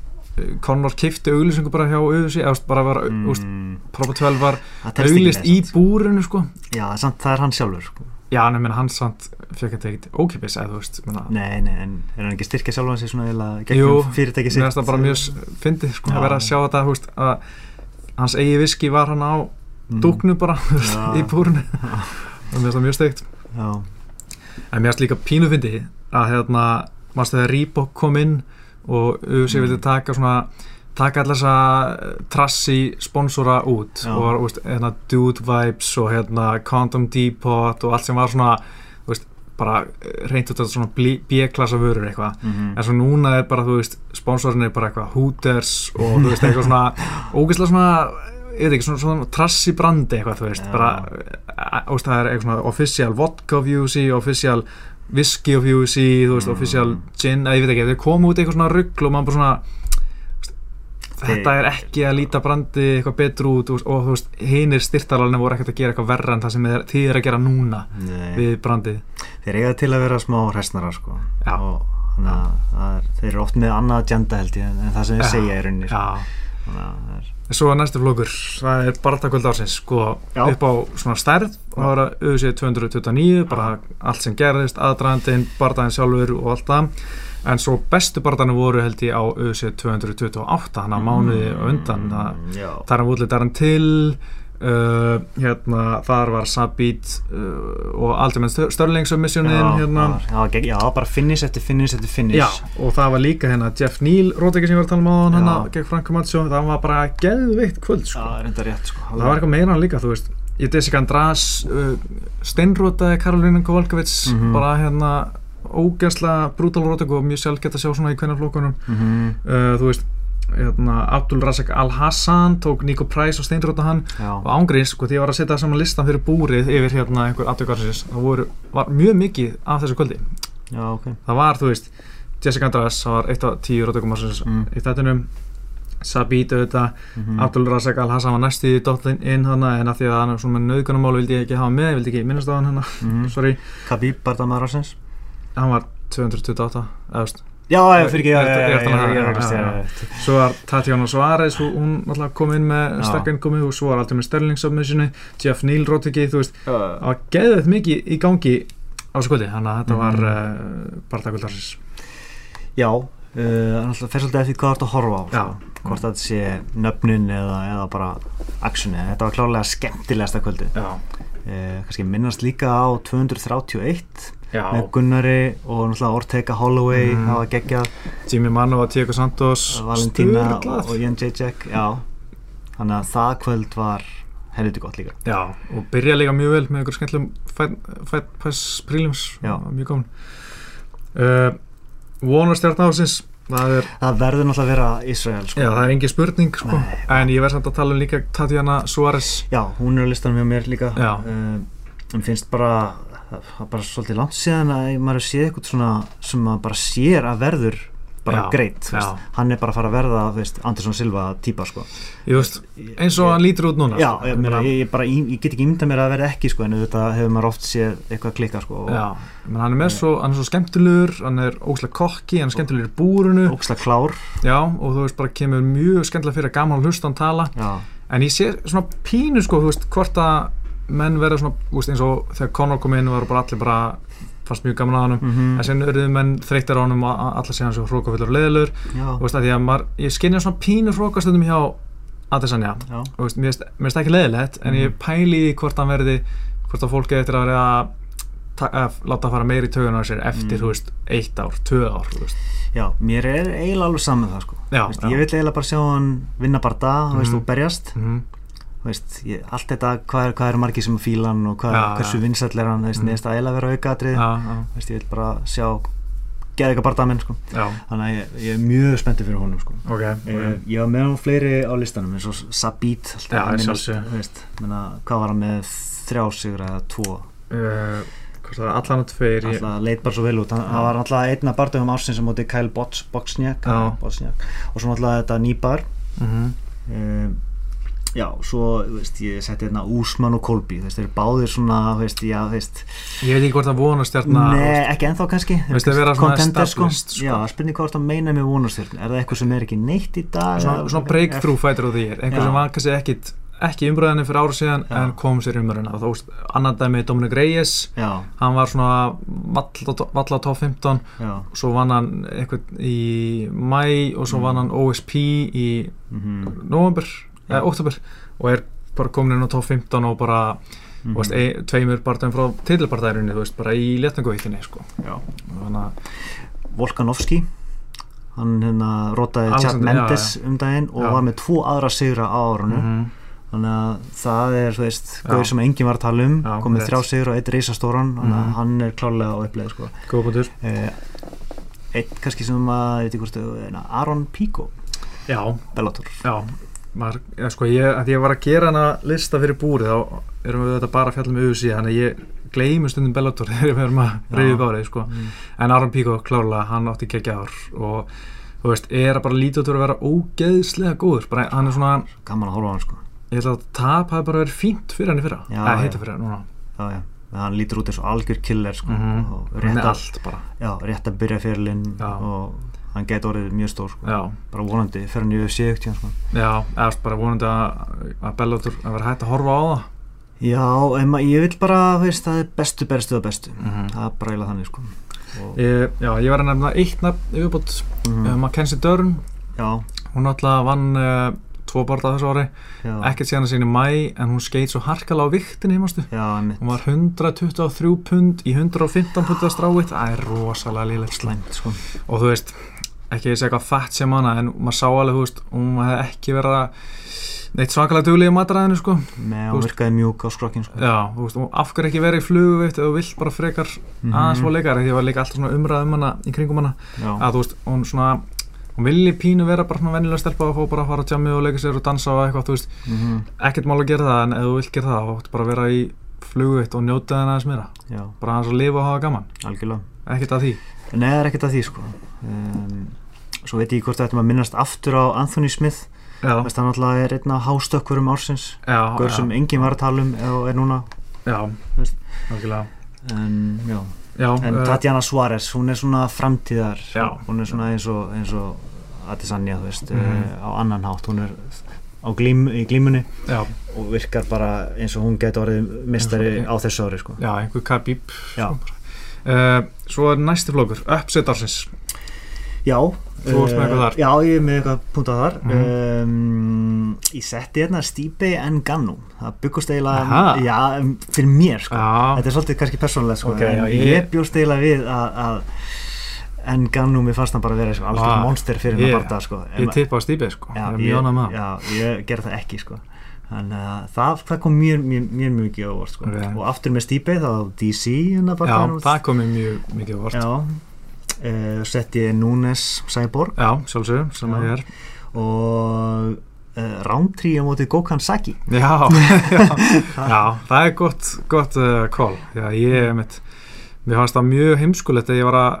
Conor kifti auglýsingu bara hjá auðvisi, eða, þú veist, bara var mm. veist, mm, Proper 12 var það telst ekki auglýst með í samt. búrinu, sko Já, samt það er hann sjálfur sko. Já, en ég meina hann samt fekk þetta ekkert ókipis eða þú veist, ég meina Nei, nei, en er hann ekki að styrkja sjálfan sig svona eða Jú, gegnum fyrirtæki sitt? mér finnst það bara mjög s- fyndið sko Já. að vera að sjá þetta, þú veist, að hans eigi viski var hann á Mm. dúknu bara þú veist, Já. í búrinu og mér finnst það mjög steikt Já, en mér finnst líka pínu fyndið að hérna, mannstu þegar Reebok kom inn og UFC Mm. vildi taka svona taka allar þessa eh, trassi sponsora út Já. og var, þú veist, hérna Dude Vibes og hérna Condom Depot og allt sem var svona, þú veist, bara eh, hreint út að svona bli- B-klassa vörur eitthvað mhm. en svo núna er bara, þú veist, sponsorin er bara eitthvað Hooters og þú veist, eitthvað svona ógeðslega svona, ég veit ekki, svona, svona trassi brandi eitthvað, þú veist, Já. bara ást, það er eitthvað svona official vodka of UC, official whisky of UC, þú veist, Mm. official gin, eða ég veit ekki, þau komu út í eitthvað svona ruggl og maður bara svona þú veist, þetta er ekki að líta brandi eitthvað betur út þú veist, og þú veist, hinir styrtalarnir voru ekkert að gera eitthvað verra en það sem þeir- þið er að gera núna Nei, við brandið þeir eiga til að vera smá hræsnara sko Já. og þannig að það er- þeir eru oft með annað agenda held ég en en það sem þeir Já. segja í rauninni sko. Já. þannig að það er Svo er næstu flokkur, það er barndagöld ársins sko, Já. upp á svona stærð og það var að auðvitað 229 bara allt sem gerðist, aðdragandinn bardaginn sjálfur og allt það en svo bestu bardaginni voru held ég á auðvitað 228, hann að mánuði á undan, það, Mm, já. þar hann útlið darann til uh, hérna, þar var Sabit uh, og Ultimate Sterling submissionin Já, hérna, var- já, gegn- já, bara finish eftir finish eftir finish Já, og það var líka hérna Jeff Neal, rótæki sem ég var að tala um á hann, Já. hann að- gegn Frank Macho, það var bara geðveitt kvöld sko. Já, það er enda rétt sko Það var eitthvað meira en líka, þú veist Ég Jessica András uh, steinrótaði Karolínu Kowalkowicz Mhm. bara hérna ógæsla brútal rótöku og mjög sjálfgett að sjá svona í hvernig flokkunum Mhm, uh, þú veist, hérna, Abdul Razak Al-Hassan tók Nico Price og steinróta hann Já, og ángriðs, sko, því ég var að setja saman listan fyrir búrið yfir hérna einhver aftökarsins það voru, var mjög mikið af þessu kvöldi já, ok það var, þú veist, Jessica András það var eitt af tíu rótökum ársins Mm. í þettinum Sabit auðvitað Mhm. Abdul Razak Al-Hassan var næstu í dottin inn hana en að því að hann er svona með nöðgunumál vildi ég ekki hafa með, vildi ekki minnast á hann hana Mhm. sorry, Khabib bardamaður ásins hann var 228 eðust. Já, ég fyrir ekki Ég- ég- já, já, já, ég- já, ég- já, ég- já, já, ég- já. svo var Tatjana Suárez hún- hún alltaf kom inn með Já. sterk innkomi og svo var alltaf með Sterling submissioni Jeff Neal Rotigi, þú veist, það var geðið mikið í gangi á þessu kvöldi, þannig að þetta Mhm. var uh, barðakvöldarsins Já, uh, hann alltaf fer svolítið eftir hvað þú ert að horfa á Já. sko. hvort þetta sé nöfnin eða, eða bara actioni þetta var klárlega skemmtilegasta kvöldi uh, Já, kannski minnast líka á 231 með já. Gunnari og náttúrulega Ortega Holloway Mhm. það var geggjað Jimmy Manova, Diego Santos Valentina og, sturlað. og Jan Jacek já, þannig að það kvöld var helviti gott líka Já, og byrja líka mjög vel með einhver skemmtilegum Fight- Fight Pass prelims Já. mjög gaman uh, Warner stjarnáðsins það er, það verður náttúrulega að vera Israel sko. já, það er engin spurning sko. en ég verð samt að tala um líka Tatjana Suárez Já, hún er á listanum hjá mér líka Já. uh, en finnst bara það er bara svolítið langt síðan að maður sé eitthvað svona sem maður bara sér að verður bara Já, greitt þú já. veist. hann er bara að fara að verða þú veist, Andersson Silva típa sko. ég veist, eins og hann lítur út núna já, sko. ég, meina, ég, ég, bara, ég, ég get ekki ímynda mér að verða ekki sko, en þetta hefur maður oft séð eitthvað klika sko, já, menn hann er með svo, hann er svo skemmtilegur hann er ógslag kokki, hann er skemmtilegur í búrunu og óksla klár já, og þú veist, bara kemur mjög skemmtilega fyrir að gaman að hlusta hann tala já, en ég sé svona pínu sko þú veist hvort að menn verða svona þú veist, eins og þegar Conor kom inn var bara allir bara fannst mjög gaman að honum Mhm. en sen eruðu menn þreyttir á honum og a- allar sé hann svo hrókafillur og leðilur já, þú veist að því að maður, ég skynja svona pínu hrókastundum hjá Adesanya já. þú veist, mér finnst- mér finnst ekki leðilegt en ég pæli í því hvort hann verði hvort að fólki eftir að verða að ta- að láta fara meiri í taugun á sér eftir, Mm. þú veist, eitt ár, tvö ár þú veist. Já, mér er eiginlega alveg saman það sko. Já, Þú veist, já. Ég vil eiginlega bara sjá hann vinna bara dag, þú veist, Mhm. og berjast Mhm. Þú veist, ég, allt þetta, hvað er, hvað er margir sem fíla hann og hvað, Já, já. hversu vinsall er hann, þú Mhm. veist, mm. neðist að eiginlega vera aukaðatrið já, já, veist, ég vil bara sjá geða eitthvað bara menn, sko já, þannig að ég, ég er mjög spenntið fyrir honum, sko ok, Ég, okay. ég var með hann fleiri á listanum eins og Sabit, Já, alltaf að minnast, sjálfsögðu. þú veist, menna, hvað var hann með þrjá sigra eða tvo Uh, hvort að allan að tveir ég- alltaf leit bara svo vel út hann, Já. hann var alltaf einna bardöfum ásins sem móti Kyle Bots, Boxniak, Já. Boxniak og svo alltaf þetta nýbar Mhm. um, já, svo þú veist, ég setti hérna Úsmann og Kolby þú veist, þeir eru báðir svona þú veist, já, þú veist, Ég veit ekki hvort hérna það vonastjarna nei, ekki ennþá kannski Þú veist, þeir vera svona Contender, sko. established, sko. já, spurning hvað er það meina með vonastjörn er það eitthvað sem er ekki neitt í dag svona, eða- svona breakthrough fighter á því er einhver Já. sem var kannski ekkit, ekki umbröðinni fyrir ára síðan Já. en kom sér umbröðina þú veist, annan dæmi Dominic Reyes já, hann var svona valla valla á top 15 já, svo vann hann eitthvað í mæ og svo vann hann OSP í mhm, november, eða oktober og er bara komin inn á top 15 og bara mhm, þú veist, ein, tveimur barðum frá titilbarðarinnu, þú veist, bara í letninguhittinni sko. já. þannig að, Volkanovski hann hérna rótaði Chad Alexander, já, Mendes um daginn og Já. var með tvo aðra sigra á árunum mhm, þannig að það er, þú veist, Já. gauður sem enginn var að tala um Já, komið rétt. þrjá sigur og eitt reysastóran þannig að Mhm. hann er klárlega á uppleið sko. góð búintur eh, eitt kannski sem að, ég veit ekki hvort, eh, na, Aron hérna, Pico já, Bellator, já, maður, ja, sko, ég, að ég var að gera hana lista fyrir búrið þá erum við þetta bara að fjalla með UFC þannig að ég gleymum stundum Bellator þegar við erum að Já. reyðu bárið sko. Mm. en Aron Píko klála, hann átti kekja ár og þú veist, er að bara lítið út fyrir að vera ógeðslega góður bara, hann er svona, Gaman að horfa á hann sko ég held að tap hafi bara verið fínt fyrir hann í fyrra Já, eða já. heita fyrir hann núna Já, já, hann lítur út eins og algjör killer sko og rétt með að, Mhm. allt bara já, rétt að byrja fyrirlinn Já. og hann gæti orðið mjög stór sko. já, bara vonandi, fer hann í UFC ykti sko. já, eða bara vonandi að, að Bellator að vera hægt að horfa á það Já, em, ég vil bara, þú veist, það er bestu, bestu og bestu Mhm. það er bara eiginlega þannig sko. og, ég, já, ég var að nefna eitt nafn yfirbútt, Mhm. mm. Mackenzie Dörn Já, hún náttúrulega vann uh, tvo barða þessu ári já, ekkert síðan að sinni mæ en hún skeit svo harkala á viktinni mástu já, mitt hún var 123 pund í 115 pund að stráið það er rosalega lélegt slæm slæmt sko. og þú veist, ekki að segja eitthvað fætt sem hana en maður sá alveg, þú veist, hún hefði ekki verið að neitt svakalega duglega í matræðinu sko. Þú með að veist- virkaði mjög á skrokkin sko. já, þú veist, og af hverju ekki verið í flugvitt eða þú vilt bara frekar Mhm. aðeins fór leikar því að var líka alltaf svona umræð um hana í kringum hana já, að þú veist, hún svona hún vilji pínu vera bara svona venjulega stelpa og fó bara að fara að tjamið og leika sér og dansa og eitthvað, þú veist, mhm, ekkert mál að gera það en ef þú vilt gera það, þá ætti bara að vera í flugvitt og njóta þenn aðeins meira já, bara aðeins að lifa og hafa gaman, algjörlega ekkert að því Nei, það er ekkert að því sko. um, Svo veit ég hvort þetta maður minnast aftur á Anthony Smith já, Vest, hann alltaf er einn af hástökkurum ársins já, Gaur já, sem enginn var að tala um og er núna já, Þú veist. algjörlega En, já. já, en eh, Tatjana Suárez, hún er svona framtíðar Já. Hún er svona eins og, eins og Adesanya, þú veist, mm Mhm. á annan hátt Hún er á glím, í glímunni já, og virkar bara eins og hún geti orðið mistari á þessu ári sko. já, einhver kabíp Já. uh, svo er næsti flokkur, uppset ársins Já Þú varst með eh, eitthvað þar. Já, ég er með eitthvað punktað þar mm Mhm. Ég setti hérna Stipe Ngannou Það byggust eiginlega Aha. Já, um, fyrir mér sko já, Þetta er svolítið kannski persónulega sko Ok, en já, Ég, ég- bjóst eiginlega við að, að Ngannou, mér fannst hann bara vera sko, alveg Ah, monster fyrir yeah. ég- hann barða sko En ég ma- tippa á stípið sko, já, ég er mjög ánað með það Já, ég gerði það ekki sko Þannig að það, það kom mjög, mjög, mjög mikið á orð sko. Ok. Og aftur með Stipe þá DC hérna bara Já, það komið mjög mikið á vort Já, Já Uh, setti ég Núnes Cyborg sjálfsögum, sem að Já. ég er og uh, Roundtree á móti Gokhan Saki Já, já, já það er gott, gott uh, call Já, ég er mitt Mér fannst það mjög heimskulegt að ég var að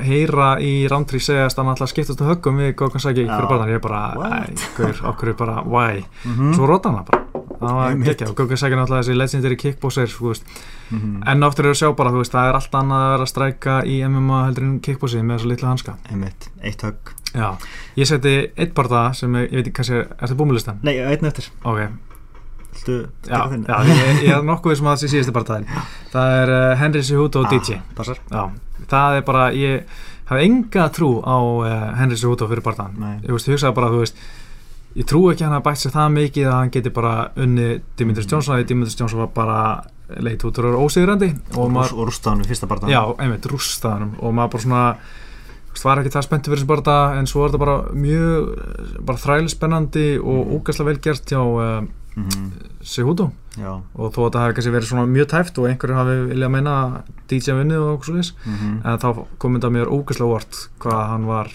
heyra í Roundtree segjast að hann alltaf skiptast um höggum við Gókan Sæki Já. fyrir barðan, ég er bara, What? ægur, okkur er bara, why? mm -hmm. Svo róta hann það bara Það var Einmitt. gekkja og Gókan Sæki er náttúrulega þessi legendary kickboxer, þú veist Mhm. En aftur eru að sjá bara, þú veist, það er allt annað að vera að stræka í MMA heldur en kickboxið með þessu litlu hanska einmitt, eitt högg Já, ég seti eitt barða sem, ég, ég veit ekki kannski, er þetta búmilistan? nei, einn eftir, Ok, viltu já, taka þinn? já ég, ég er nokkuð sem að það sé síðustu barðaðin Það er uh, Henry Cejudo og DJ Ah, passar Já, það er bara, ég hafði enga trú á uh, Henry Cejudo fyrir barðaðin Nei. Ég veist, hugsaði bara, þú veist Ég trú ekki að hann að bætt sér það mikið að hann geti bara unni Dimitris Johnson að Dimitris Johnson var bara leit út úr ósigurandi og og, maður, og rústa hann við fyrsta barndan já, einmitt, rústaðanum og maður bara svona þú veist, var ekki það spenntu fyrir þessu barða en svo er þetta bara mjög eh, bara þrælspennandi og ógæslega vel gert hjá uh, mm Cejudo já, og þó að það hafi kannski verið svona mjög tæft og einhverju hafi viljað meina að DJ vinnið og okkur svo mm en þá kom þetta mér ógæslega vart hvað hann var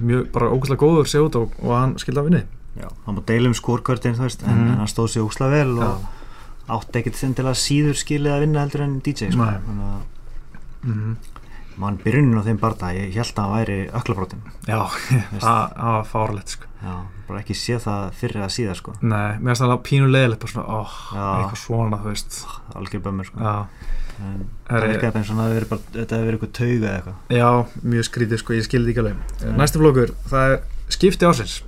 mjög, bara ógæslega góður sér út og, og hann skildi að vinnið já hann má deila um skórkvörðin, þú veist Mhm. en, en hann stóð sér úksla vel Já. og átti ekkert þinn til að síður skilið að vinna heldur en DJ sko. Nei. þannig að -hmm. mann byrjunin á þeim barnda ég held að hann væri öklabrotin Já, það það var fárlegt sko. já, bara ekki sé það fyrir að síða sko Nei, mér finnst það alveg pínu leiðilegt bara svona, óh, Já. eitthvað svona, þú veist algjör bömmur sko Já, en, Herri- Það virkaði bara eins og það hefði verið bara, þetta hefði verið eitthvað tauga eða eitthvað. já mjög skrítið sko, ég skildi ekki alveg Nei. Næsti flokkur, það er skipti ásins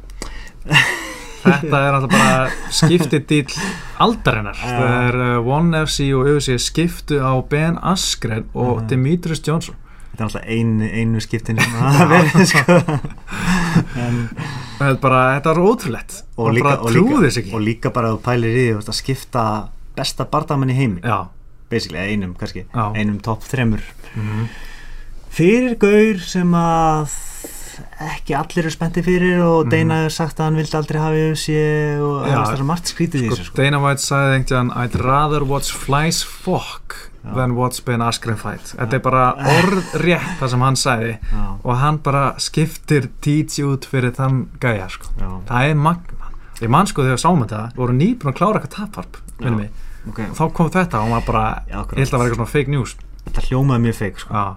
Þetta er alltaf bara skipti dýl aldarinnar Já. Það er uh, One FC og UFC skiptu á Ben Askren og Mhm. Dimitris Johnson Þetta er alltaf einu, einu skiptin sem það hafa verið, sko. En, Það er bara, þetta er ótrúlegt og, Maður líka, bara og, trúði líka, þess ekki og líka bara að þú pælir í því, þú veist, að skipta besta bardamann í heimi, Já, basically, eða einum kannski, já Mhm. einum topp þremur. Fyrir gaur sem að ekki allir eru spenntið fyrir og Mhm. Deina hefur sagt að hann vildi aldrei hafa yfir sér og Já. það er svo margt skrítið í þessu, sko. Dana White sagði einhvern veginn I'd rather watch flies fuck Já. than watch Ben Askren fight Þetta er bara orðrétt það sem hann sagði Já, og hann bara skiptir DJ út fyrir þann gæja sko. já. Það er magna ég man sko þegar við sáum þetta voru nýbúin að klára eitthvað tapvarp minnir mig. ok, og þá kom þetta og maður bara Já, akkurat. ég held að vera eitthvað svona fake news þetta hljómaði mjög feik sko, já,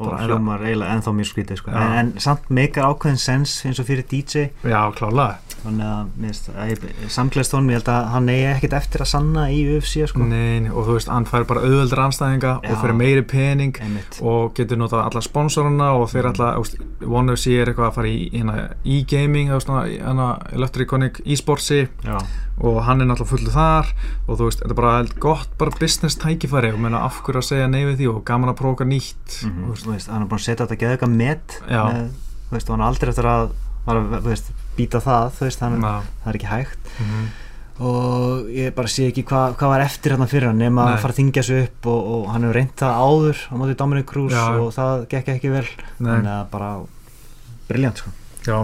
og bara- hljómar eiginlega ennþá mjög skrítið sko. Já. en, en samt meikar ákveðin sens eins og fyrir DJ já klálega þannig að, mér finnst- að ég- samklæðstón, ég held að hann eigi ekkert eftir að sanna í UFC sko. Nein, og þú veist, hann fær bara auðveldur anstæðinga Já. og fyrir meiri pening einmitt, og getur notað alla sponsorana og Mm. þeir alla, þú veist, OneFC er eitthvað að fara í hérna, e-gaming, þú veist, svona, hérna, Electronic e-sportsi já, og hann er náttúrulega fullu þar og þú veist, þetta er bara held gott bara business tækifæri og meina af hverju að segja nei við því og gaman að prófa eitthvað nýtt mm þú veist, þú veist, hann er búin að setja þetta geðuga met Mhm. Já. með, þú veist, og hann er aldrei eftir að, var að þú veist, býta það, þú veist, hann, na, það er ekki hægt mm og ég bara sé ekki hvað hva var eftir hérna fyrir hann nema Nei. að fara að þingja sig upp og, og hann hefur reynt það áður á móti Dominic Cruz Já. og það gekk ekki vel nei, þannig að bara briljant sko já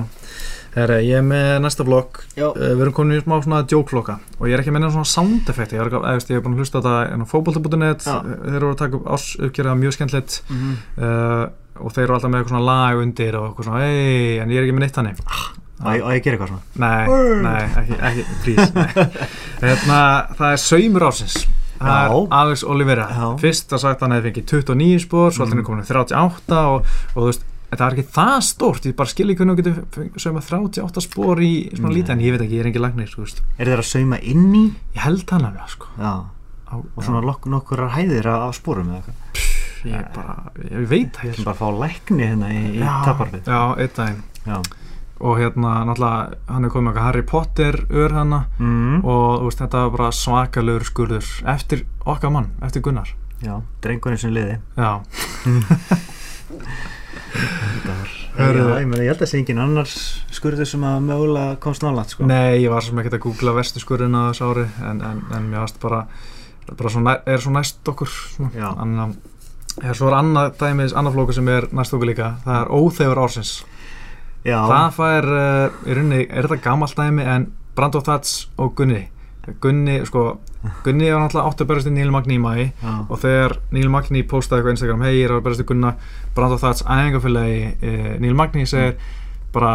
Herre, ég er með næsta vlog Já. Eh, Við erum komin í smá svona joke-loka og ég er ekki að menna svona sound effekti ég er, ekki- eða, þú veist, ég er búin að hlusta á þetta fókbólta.net Já. þeir eru að taka upp ás uppgerða mjög skemmtilegt mm -hmm. uh, og þeir eru alltaf með eitthvað svona lag undir og eitthvað svona ei, en ég er ekki með neitt þannig og, ég- og ég gerir eitthvað svona Nei, Word. nei, ekki, ekki, please nei. Hérna, það er saumur ásins Það Já. er Alex Oliveira Já. Fyrst að sagt hann hefði fengið 29 spór Svo alltaf Mm. hann er komin í 38 og, og þú veist, það er ekki það stórt Ég bara skil ekki hvernig hún getur saumað 38 spór í svona Nei. lítið En ég veit ekki, ég er engin lagnir sko, veist. er þeir að sauma inn í Ég held hann alveg sko. já. á, og svona lok, nokkur hæðir af, af spórum eða eitthvað ég, bara, ég veit það sem ekki bara fá lækni hérna í, í Já. taparfið Já, einn daginn já. Og hérna, náttúrulega, hann er komið með eitthvað Harry Potter ör hana Mm. og þú veist, þetta var bara svakalögur skurður eftir okkar mann, eftir Gunnar já, drengurinn sem liði Já, Heru, Heyrðu. já, ég, meni, ég held að sé engin annars skurður sem að mögulega komst nálat sko. nei, ég var svo sem ekkert að googla verstu skurðina á þessu ári en, en, en mér varst bara, bara svo næ, er svo næst okkur Já. Anna, er Svo er annað dæmis, annað flóku sem er næst okkur líka það er óþefur ársins já, Það fær, uh, í rauninni, er þetta gamalt dæmi en Brando Thats og Gunni Gunni, sko, Gunni var náttúrulega áttu berjast í Níl Magni í maí já, og þegar Níl Magni postaði eitthvað á Instagram hei, ég er að berast í Gunna Brando Thats æðingafélagi e, Níl Magni segir bara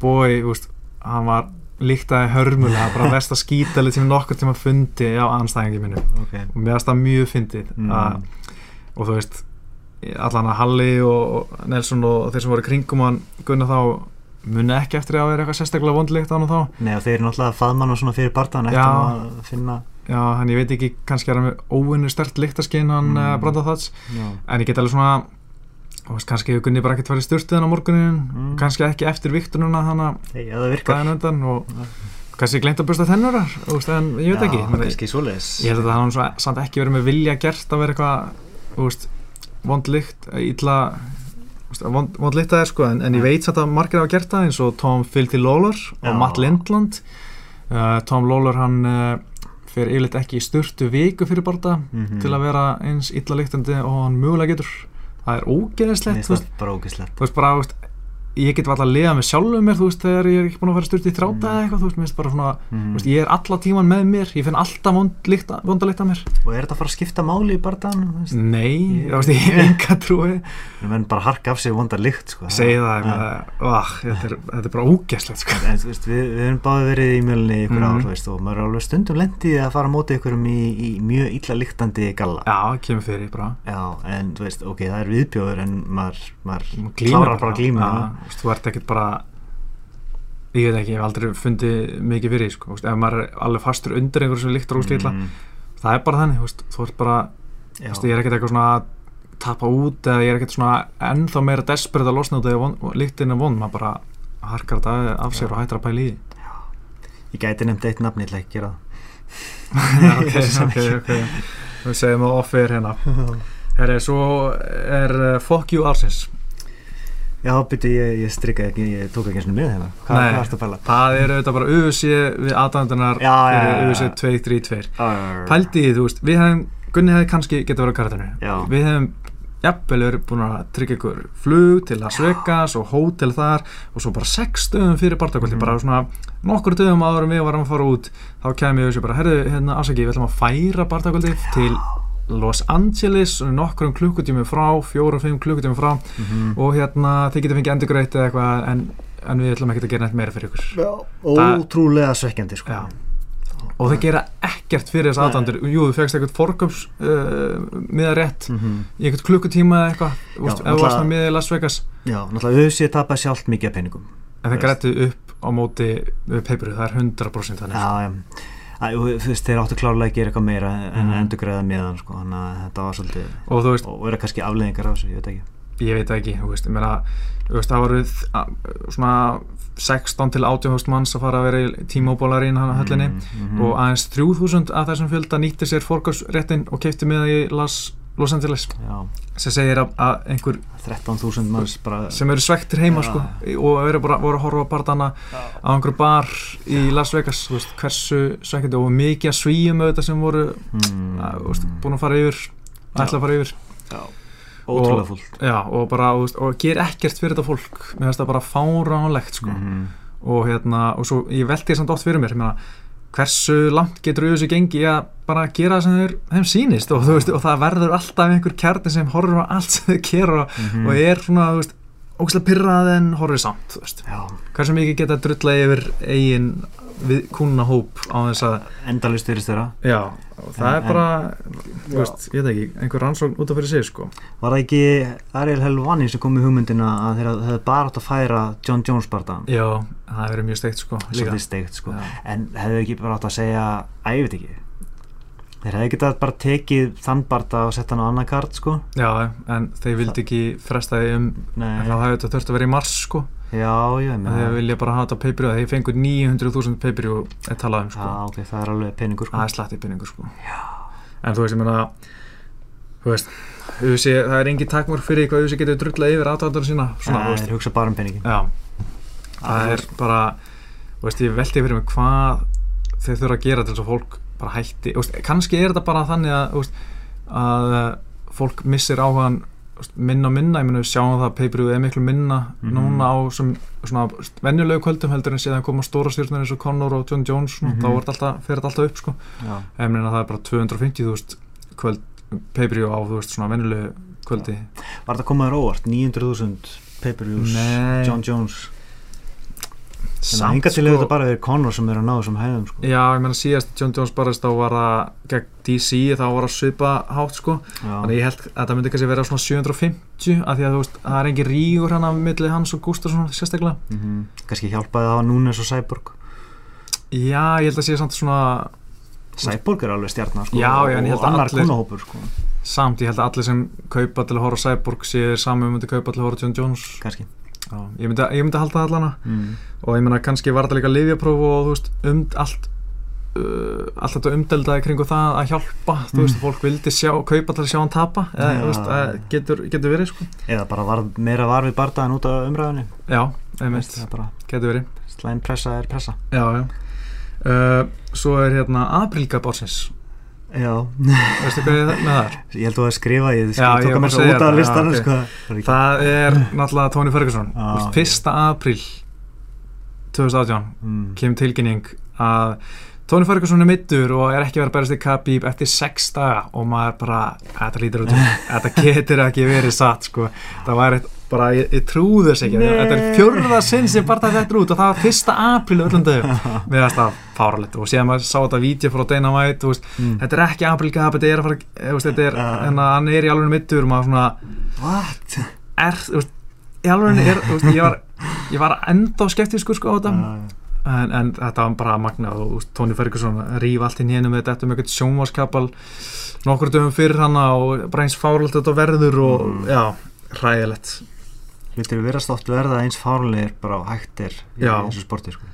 bói, úst, hann var líktaði hörmulega, bara versta skítalið sem ég nokkur tíma fundi á anstæðingi minu ok og mér varst það mjög fyndið Mm. mm. og þú veist allan að Halli og og Nelson og þeir sem voru í kringum hann Gunna þá muni ekki eftir að vera eitthvað sérstaklega vondlíkt á hann og þá Nei og þeir eru náttúrulega faðmann og svona fyrir barðan eftir Já. að finna já, hann ég veit ekki, kannski er hann með óvinnu stert líktaskinn hann mm. Mm. Brando Thats já. en ég get alveg svona þú veist, kannski hefur Gunni bara ekkert farið styrtiðan á morgunin Mm. kannski ekki eftir viktununa þannig Nei, ja, það virkar daginn undan og Já. kannski gleymt að busta tennurar veist, en ég veit Já, ekki Menn, kannski svoleiðis ég held að það hann svo, samt ekki verið með vilja gert að vera eitthvað þú veist, vond lykt illa þú veist, vond, vond lykt að er sko en, en ég veit samt að margir hafa gert það eins og Tom Filthy Lawler Já. og Matt Lindland uh, Tom Lawler hann uh, fer yfirleitt ekki í styrtu viku fyrir barða Mhm. til að vera eins illa lyktandi og hann mögulega getur það er Mér ógeðislegt finnst þú veist, það bara ógislegt þú veist bara þú veist, ég get alltaf að liða með sjálfum mér þú veist þegar ég er ekki búin að fara sturt í Mm. þráta eða eitthvað þú veist, mér finnst bara svona Mhm. þú veist, ég er alla tíman með mér, ég finn alltaf vond lykt- vonda lykt að mér Og er þetta að fara að skipta máli í barðan? nei, Ég- þú veist, ég hef enga trúi Það menn bara harka af sig vonda lykt sko. segi það, ég Já. meina, vah, þetta er, þetta er bara ógeðslegt sko. En þú veist, við, við erum báði verið í mjölni í ykkur Mhm. ár, þú veist, og maður er alveg stundum lendið að fara á móti ykkurum í, í mjög illa lyktandi galla. já, kemur fyrir, bara Já, en þú veist, ok, það er viðbjóður en maður, maður Maður glímir klárar bara að glíma Já, þú veist, þú ert ekkert bara ég veit ekki, ég hef aldrei fundið mikið fyrir því, sko, þú veist, ef maður er alveg fastur undir einhverju sem líktur óslega illa Mm, það er bara þannig, þú veist, þú ert bara já. þú veist, ég er ekkert eitthvað svona að tappa út eða ég er ekkert svona ennþá meira desperið að losna út eða líktinn er vond, maður bara harkar þetta af sér Já. og hættir að pæla í því Ég gæti nefnt eitt nafn, ég ætla ekki að gera Já, ok, ok, ok Við segjum að off er hérna það. Herri, svo er uh, Fuck You Arsins Já, byrju, ég, ég strikkaði ekki, ég tók ekki eins og með hérna. Hva, Nei. hvað ertu að pæla? Það eru auðvitað bara UFC við aðdæmdunar Já, já, já, já. fyrir UFC 232 Pældi í því, þú veist, við hefum Gunni hefði kannski getið að vera á Já. kartinu Við hefum jafnvel verið búin að tryggja ykkur flug til Las Vegas og hótel þar og svo bara sex stöðum fyrir barndagkvöldi Mhm. bara svona nokkur dögum áður en við varum að fara út þá kemur við þessu bara, herðu, hérna afsaki við ætlum að færa barndagkvöldi til Los Angeles nokkrum klukkutími frá, fjórum, fimm klukkutími frá Mhm. og hérna þið getum fengið endurgreitt eða eitthvað en en við ætlum ekki að gera neitt meira fyrir ykkur ótrúlega svekkjandi sko. Já. og þeir gera ekkert fyrir þess Nei. aðdandur jú, þú fegst eitthvað forgöms uh, miða rétt Mhm. í eitthvað klukkutíma eða eitthvað þú veist, Já, ef þú varst náttúrulega- með miða í Las Vegas já, náttúrulega auðsýði tapar sjálft mikið af peningum en þeir Þú veist. grættu upp á móti peipuru, það er 100% þannig já, já Æ, og þú veist, þeir áttu klárlega að gera eitthvað meira en Mhm. að endurgræða meðan sko, þannig að þetta var svolítið og þú veist, og eru kannski afleðingar af þessu, ég veit ekki ég veit það ekki þú veist, ég meina, þú veist, það voru þ- a- svona 16 til 18.000 manns að fara að vera í tímóbólar í hann að höllinni Mhm, mhm. og aðeins 3.000 að þessum fjölda nýtti sér forgömsréttin og keipti miða í Las, Los Angeles já, sem segir að, að einhver 13.000 manns bara sem eru svektir heima Já. sko, og eru bara voru að horfa á partana á einhverju bar í Las Vegas þú veist, hversu svekkjandi og mikið að svíum auðvitað sem voru mm, að, þú veist, búin að fara yfir ætla að fara yfir já, ótrúlega sko. fúlt Já, og bara, þú veist, og ger ekkert fyrir þetta fólk mér finnst það bara fáránlegt sko. Mhm. og hérna, og svo ég velti þess að dótt fyrir mér, ég meina hversu langt getur auðvitað gengi í að bara gera það sem þeir, þeim sýnist og, þú veist, og það verður alltaf einhver kjarni sem horfir á allt sem þeir gera og, Mhm. og er svona, þú veist, ógæslega pirrað en horfir samt, þú veist já, hversu mikið geta drulla yfir eigin við kúnna hóp á þess að endalist verist þeirra já, það En- er bara þú veist, ég veit ekki, einhver rannsókn út af fyrir sig sko. var það ekki Ariel Helvani sem kom með hugmyndina að þeirra hefði bara átt að færa John Jones barðan já, það hefur verið mjög steikt sko, líka svolítið steikt sko Já. en hefði ekki bara átt að segja að ég veit ekki þeir hefði getað bara tekið þann barða og sett hann á annan kart sko já, en þeir vildi ekki fresta því um Nei. en það hefði þetta þurft að vera í mars sko, já, já, ég en þeir meina vilja bara hafa þetta peipiru þeir fengur 900.000 peipiru að tala um já, sko. ok, það er alveg peningur sko það er slatti pinningur sko. en þú veist, ég meina þú veist, UFC, það er engin takmörk fyrir hvað UFC getur drulla yfir aðtöndar sína svona, þú Æ, veist, þeir hugsa bara um peningin já það er bara þú veist, ég velti fyrir mig hvað þeir þurfa að gera til þess að fólk bara hætti þú veist, kannski er þetta bara þannig að, þú veist, að eh, fólk missir áhugan þú veist, minna og minna, ég meina við sjáum það að peipriðu er miklu minna Mhm. núna á sem, svona venjulegu kvöldum heldur en síðan koma stóra stjórnir eins og Conor og John Jones mm Mhm. -hmm. þá er þetta alltaf, fer þetta alltaf upp sko. já, ég meina það er bara 250.000 kvöld peipriðu á þú veist, svona venjulegu kvöldi var þetta komaður óvart 900.000 pay-per-views Nei. John Jones en það enga til sko. hefur þetta bara verið Conor sem er að ná þessum hæðum sko Já, ég meina síðast John Jones barðist þá var það gegn DC þá var það svipa hátt sko þannig já, ég held að það myndi kannski vera svona 750 af því að þú veist, það er engin rígur hann af milli hans og Gustafsson sérstaklega mhm. kannski hjálpaði það að núna svo Cyborg Já, ég held að sé samt svona Cyborg er alveg stjarnar sko Já, já, en ég held og að annar allir- konahópur sko samt, ég held að allir sem kaupa til að horfa á Cyborg séu þeir sami myndi kaupa til að horfa á John Jones kannski Já, ég myndi, ég myndi halda það allana mm. og ég meina kannski var þetta líka livjapróf og þú veist, um allt Uh, allt þetta umdeldaði kringu það að hjálpa þú veist, fólk vildi sjá, kaupa til að sjá hann tapa eða, Já. þú veist, það getur, getur verið sko. eða bara var, meira var við bardaðan út af umræðunni Já, Veist, einmitt, það er bara getur verið slæm pressa er pressa Já, já uh, Svo er hérna aprílgap ársins já, Veistu hvað ég er með þar? ég held að þú að skrifa ég, Já, ég ég tók að var mér að svo segja út af það, listanum já, sko. það Það er náttúrulega Tony Ferguson Já, Þú veist, Fyrsta apríl 2018 mm. kemur tilkynning að Tony Ferguson er mittur og er ekki verið að berast í Khabib eftir sex daga og maður bara, þetta lítur út þetta getur ekki verið satt sko. það var eitt, bara, ég, ég trúðu þess ekki Nei. þetta er fjörða sinn sem bara þetta út og það var fyrsta apríl öllum dögum við þetta fáralegt og síðan maður sá þetta vídeo frá Dana White, þú veist, Mm. þetta er ekki apríl Khabib, þetta er að fara, þú veist, þetta er Já. hérna, hann er í alveg mittur og maður svona what? er, þú veist, í alveg er, þú veist, ég var ég var enda skeptiskur sko á þetta en, en þetta var bara magnað og þú veist, Tony Ferguson rýf allt í nénu með þetta um eitthvað sjónvarskapal nokkur döfum fyrir hana og bara eins fáralt þetta verður og Mm. já, ræðilegt hlutir við verast oft verða eins fárleir bara og hægt er í Já. þessu sporti sko.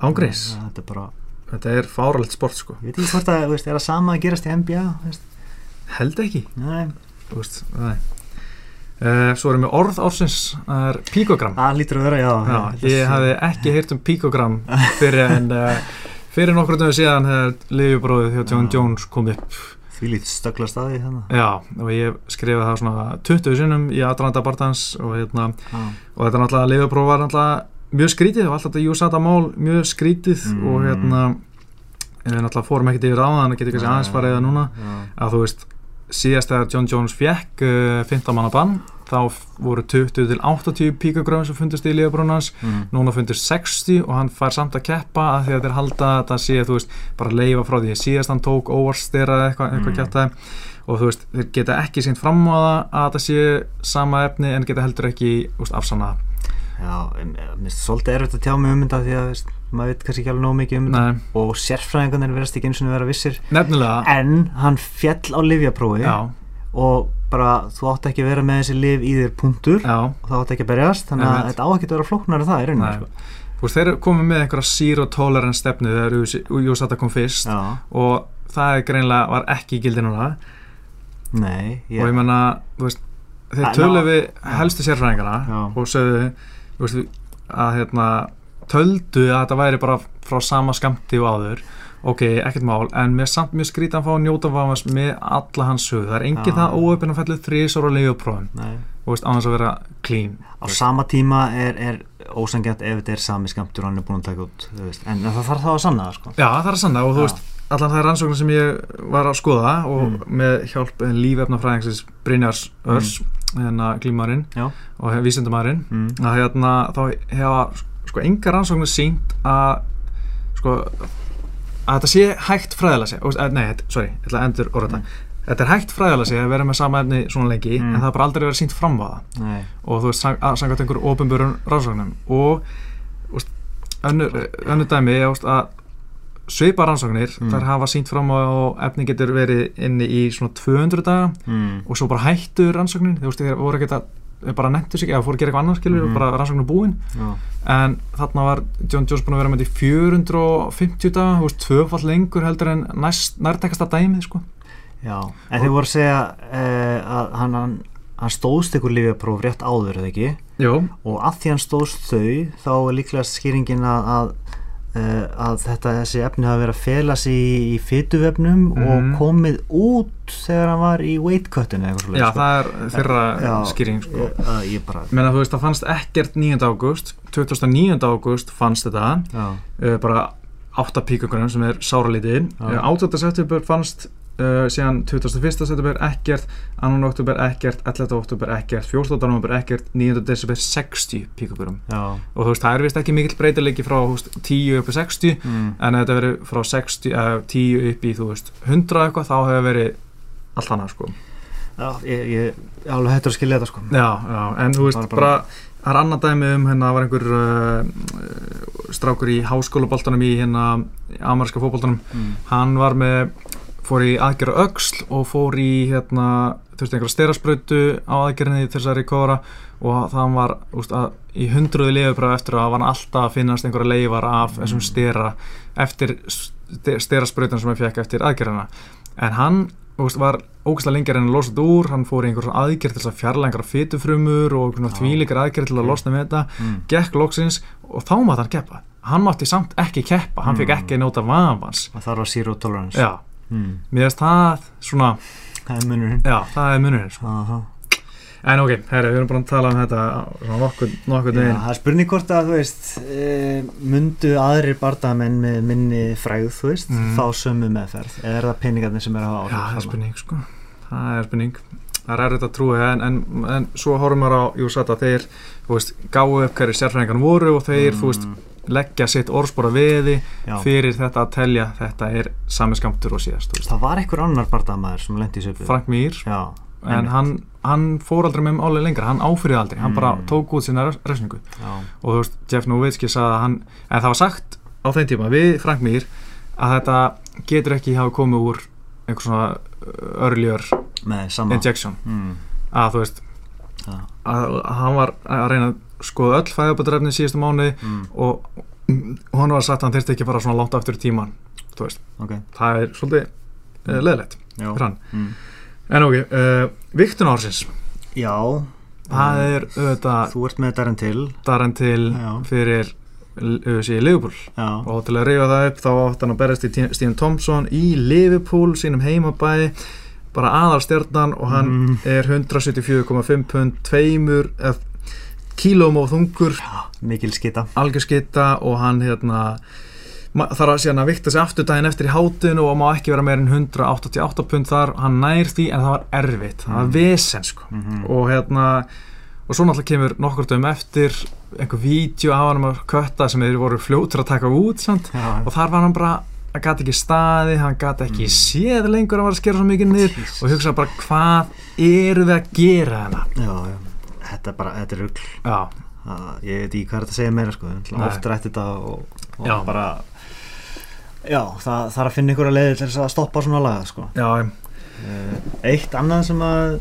ángreis, Já, þetta er bara, þetta er fáralt sport sko ég veit ekki hvort að þú veist, er það sama að gerast í NBA þú veist? held ekki, Nei, þú veist nei. Uh, svo erum við orð ársins það er píkogram það lítur að vera, Ah, já, Já, þetta ég sé- hafði ekki heyrt um píkogram fyrir en uh, fyrir nokkur döfum síðan þegar liðjubróðið hjá John Já. Jones kom upp því lít stöggla staði þannig já, og ég skrifaði það svona 20 sinnum í aðranda barndans og hérna, og þetta er náttúrulega leiðupróf var náttúrulega mjög skrítið og allt þetta Júsata mál mjög skrítið Mm. og eh, hérna en við náttúrulega fórum ekkert yfir á það en getur kannski aðeins farið að núna að þú veist síðast þegar John Jones fekk uh, 15 manna bann þá f- voru 20 til 80 píkagröfum sem fundist í liðabrúnans mm. núna fundist 60 og hann fær samt að keppa að því að þeir halda að það sé þú veist bara leifa frá því síðast hann tók óvarstera eitthvað eitthva Mm. kjartaði og þú veist þeir geta ekki sínt fram á það að það sé sama efni en geta heldur ekki úst, afsanna það. Já, em, em, mér finnst svolítið erfitt að tjá mig um þetta því að veist, maður veit kannski ekki alveg nóg mikið um þetta Nei, og sérfræðingarnir verðast ekki eins og vera vissir nefnilega en hann fjall á livjaprófi já, og bara þú átt ekki að vera með þessi liv í þér punktur já, og það átt ekki að berjast þannig að Einmitt. þetta á ekki að vera flóknar en það er nei einnig sko. Þú veist, þeir komið með einhverja zero tolerance stefnu þegar Júsata kom fyrst Já, og það er greinlega var ekki í gildi núna nei og ég menna, þú veist þeir Að töluðu ná- við helstu sérfræðingana Já. og sögðu þú veist, að hérna, töldu að þetta væri bara frá sama skamti og áður ok, ekkert mál, en mér er samt mjög skrýta að fá að njóta vafans með alla hans sögðu það er engin Já. það óöfinn að fellið þrísor og leiðuprófum, nei. þú veist, án þess að vera clean á sama tíma er, er ósangjant ef þetta er sami skamtur hann er búin að taka út þú veist. en það þarf þá að sanna það sko. Já, það er að sanna og þú Já. veist allan það er rannsóknir sem ég var að skoða og Mm. með hjálp eh, lífefnafræðingsins Brynjars Örs mm. hérna glímarinn Já. og vísindumarinn mm. að hérna þá hefa sko enga rannsóknir sínt að sko að þetta sé hægt fræðilega sé og, eh, nei, þetta- sorry, ég ætla að endur orða þetta þetta er hægt fræðilega sé að vera með sama efni svona lengi Mm. en það har bara aldrei verið sínt fram á það nei, og þú veist, sang- að samkvæmt einhverjum ofinbjörun rannsóknum og þú veist, önnur, önnur dæmi þú veist, að svipa rannsóknir Mm. þær hafa sínt fram á að efni getur verið inni í svona 200 daga mm. og svo bara hættu rannsóknin þú veist, þeir voru ekki að bara nettu sig eða fóru að gera eitthvað annars skilur Mhm. og bara rannsóknum búin Já. en þarna var John Jones búin að vera með þetta í 450 daga, þú veist, tvöfall lengur heldur en næst, nærtekasta dæmið sko. Já, en þið voru að segja uh, að hann, hann, hann stóðst ykkur lifjapróf rétt áður eða ekki Jó, og að því hann stóðst þau þá er líklega skýringin að, að, uh, að þetta þessi efni hafa verið að fela sig í, í fytuvefnum Mhm. og komið út þegar hann var í weight cutinu eða eitthvað svoleiðis, já, sko. það er fyrra Já, skýring sko. ég- að ég bara Menna þú veist, það fannst ekkert 9. ágúst 2009. ágúst fannst þetta já, uh, bara 8 píkagrönn sem er sáralítið Já. uh, 8. september fannst uh, síðan 21. september ekkert 2. oktober ekkert, 11. oktober ekkert 14. november ekkert, 9. desember 60 píkagrönn já og þú veist, það er vist ekki mikill breytileiki frá þú veist, 10 upp í 60 mm. en ef þetta verið frá 60, uh, 10 upp í þú veist, 100 eitthvað, þá hefur verið allt annað sko já, ég, ég er alveg hættur að skilja þetta sko Já, já, en þú veist Bara- bara, bara- það er annað dæmi um hérna var einhver uh, uh, strákur í háskólaboltanum í hérna ameríska fótboltanum, mm. hann var með fór í aðgerra öxl og fór í hérna, þú veist, einhverja styrasprautu á aðgerðinni til þess að rekóra og það var, þú veist, að í hundruðu leifubröð eftir að var hann alltaf að finnast einhverja leifar af Mm. þessum stera eftir styrasprautan sem hann fekk eftir aðgerðina en hann þú veist, var ógæslega lengur en að losa þetta úr hann fór í einhver svona aðgerð til þess að fjarlæða einhverja fytufrumur og svona Já. þvílíkar aðgerð til að Ok. losna með þetta Mm. gekk loksins og þá mátt hann keppa hann mátti samt ekki keppa, hann fekk Mm. ekki njóta vafans og það var zero tolerance já, mm. mér finnst það svona, það er munurinn já, það er munurinn sko. Aha. en ok, herri, við erum bara að tala um þetta svona nokkur, nokkur Já, deginn það er spurning hvort að þú veist uh, mundu aðrir bardamenn með minni fræð þú veist Mm. fá sömu meðferð eða er það peningarnir sem er að hafa já, það er áhrif þarna? spurning sko, það er spurning það er erfitt að trúi en, en, en svo horfum við á Júsata, þeir þú veist, gáu upp hverju sérfræðingan voru og þeir, þú veist, leggja sitt orðspora veði Mm, já. fyrir þetta að telja þetta er sami skamptur og síðast þú veist. það var einhver annar bardamaður sem lendi í söpu Frank Mýr, já, en einmitt. hann, hann fór aldrei með álega lengra, hann áfyrir aldrei hann bara Mm. tók út sína refsingu já, og þú veist, Jeff Nowitzki sagði að hann en það var sagt á þeim tíma við Frank Mýr að þetta getur ekki hafa komið úr einhver svona uh, earlier með sama injection mm. að þú veist, já, að, að hann var að reyna að skoða öll fæðabatrefni síðustu mánuði mm. og og hann var sagt að hann þyrfti ekki bara svona látt aftur í tíman þú veist, ok það er svolítið uh, leðilegt já, Fran. mm. En ok, uh, viktun ársins já Það Mm. er auðvitað þú ert með þetta en til daran til Já. fyrir sig í Liverpool já, og til að reyfa það upp þá átt hann að berjast í Tí- Stephen Thompson í Liverpool sínum heimabæði bara aðalstjarnan og hann Mm. er 174,5 pund tveimur eða kílóm og þungur mikil skita algjörskitta og hann hérna ma- þarf að síðan að vikta sig aftur daginn eftir í hátun og má ekki vera meir en 188 pund þar, hann nær því en það var erfitt, það var Mm. vesen sko og hérna og svo náttúrulega kemur nokkur dögum eftir einhver vídeo af hann að kötta sem þeir voru fljótur að taka út samt og þar var hann bara, hann gæti ekki staði hann gæti ekki Mm. séð lengur að var að skera svo mikið niður Jesus. og hugsa bara hvað eru við að gera hérna?" hana já, já. þetta er bara, þetta er rugl já, Það- ég veit ekki hvað er þetta að segja meira sko. Nei. oft rætt þetta og, og Já. bara já, það þarf að finna ykkur að leiði til þess að stoppa svona laga sko. já, Eh, eitt annað sem að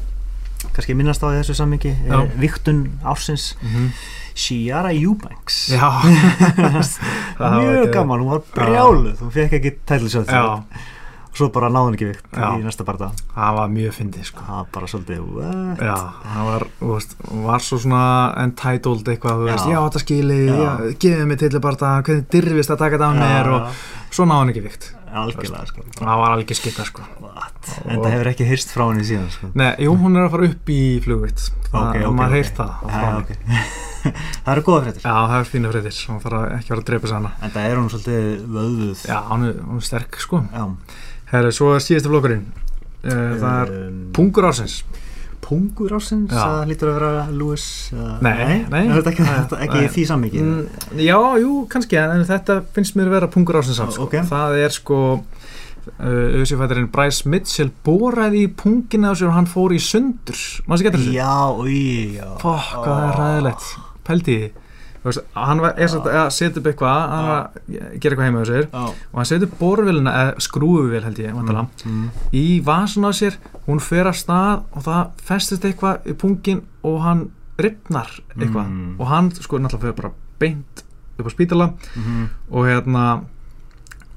kannski minnast á í þessu sammingi Já. er viktun ásins mhm. Ciara Eubanks já. Það var mjög ekki- gaman, hún var brjáluð hún fekk ekki tætlisjóð já, og svo bara náði hún ekki vikt Já. í næsta barða það var mjög fyndið sko það var bara svolítið what? Já, hann var, þú veist, hún var svo svona entitled eitthvað, þú Já. veist, já, þetta skilið, Já. já, gefið mig til bara hvernig dyrfist að taka þetta á mér og svo náði hann ekki vikt. algjörlega sko. Það var algjör skitta, sko. What? en það hefur ekki hyrst frá henni síðan sko. Nei, jú, hún er að fara upp í flugvitt. Ok, ok, Maður ok. heyrt það. á frá Já, henni. ok. það eru góða fréttir Já, það er fínu fréttir, hún þarf að- ekki að vera að drepa sig hana. en það er hún svolítið vöðuð Já, hún er, hún er sterk, sko. Já. Herru, svo er síðasta blokkurinn. Uh, það er Um, pungur ársins. pungur ásins Já. það lítur að vera Lewis uh, Nei, nei. Er þetta ekki, þetta ekki Nei. í því sammyggi Mm, já, jú, kannski, en þetta finnst mér vera pungur ásins af, sko. Ah, Ok. Það er sko, uh, ösufættarinn Bryce Mitchell boraði í pungina á sér og hann fór í sundur. Mástu getur þessu? já, Ah. új, já Fokk, hvað það er ræðilegt. Pældi í því. Þú veist, hann var, er svolítið að setja upp eitthvað, Ah. hann var að gera eitthvað heima á sér Já. og hann setja upp borvilina, eða skrúfuvél held ég, vantalega, Mm. í vasan á sér, hún fer af stað og það festist eitthvað í pungin og hann ripnar eitthvað Mm. og hann sko náttúrulega fyrir bara beint upp á spítala Mhm. og hérna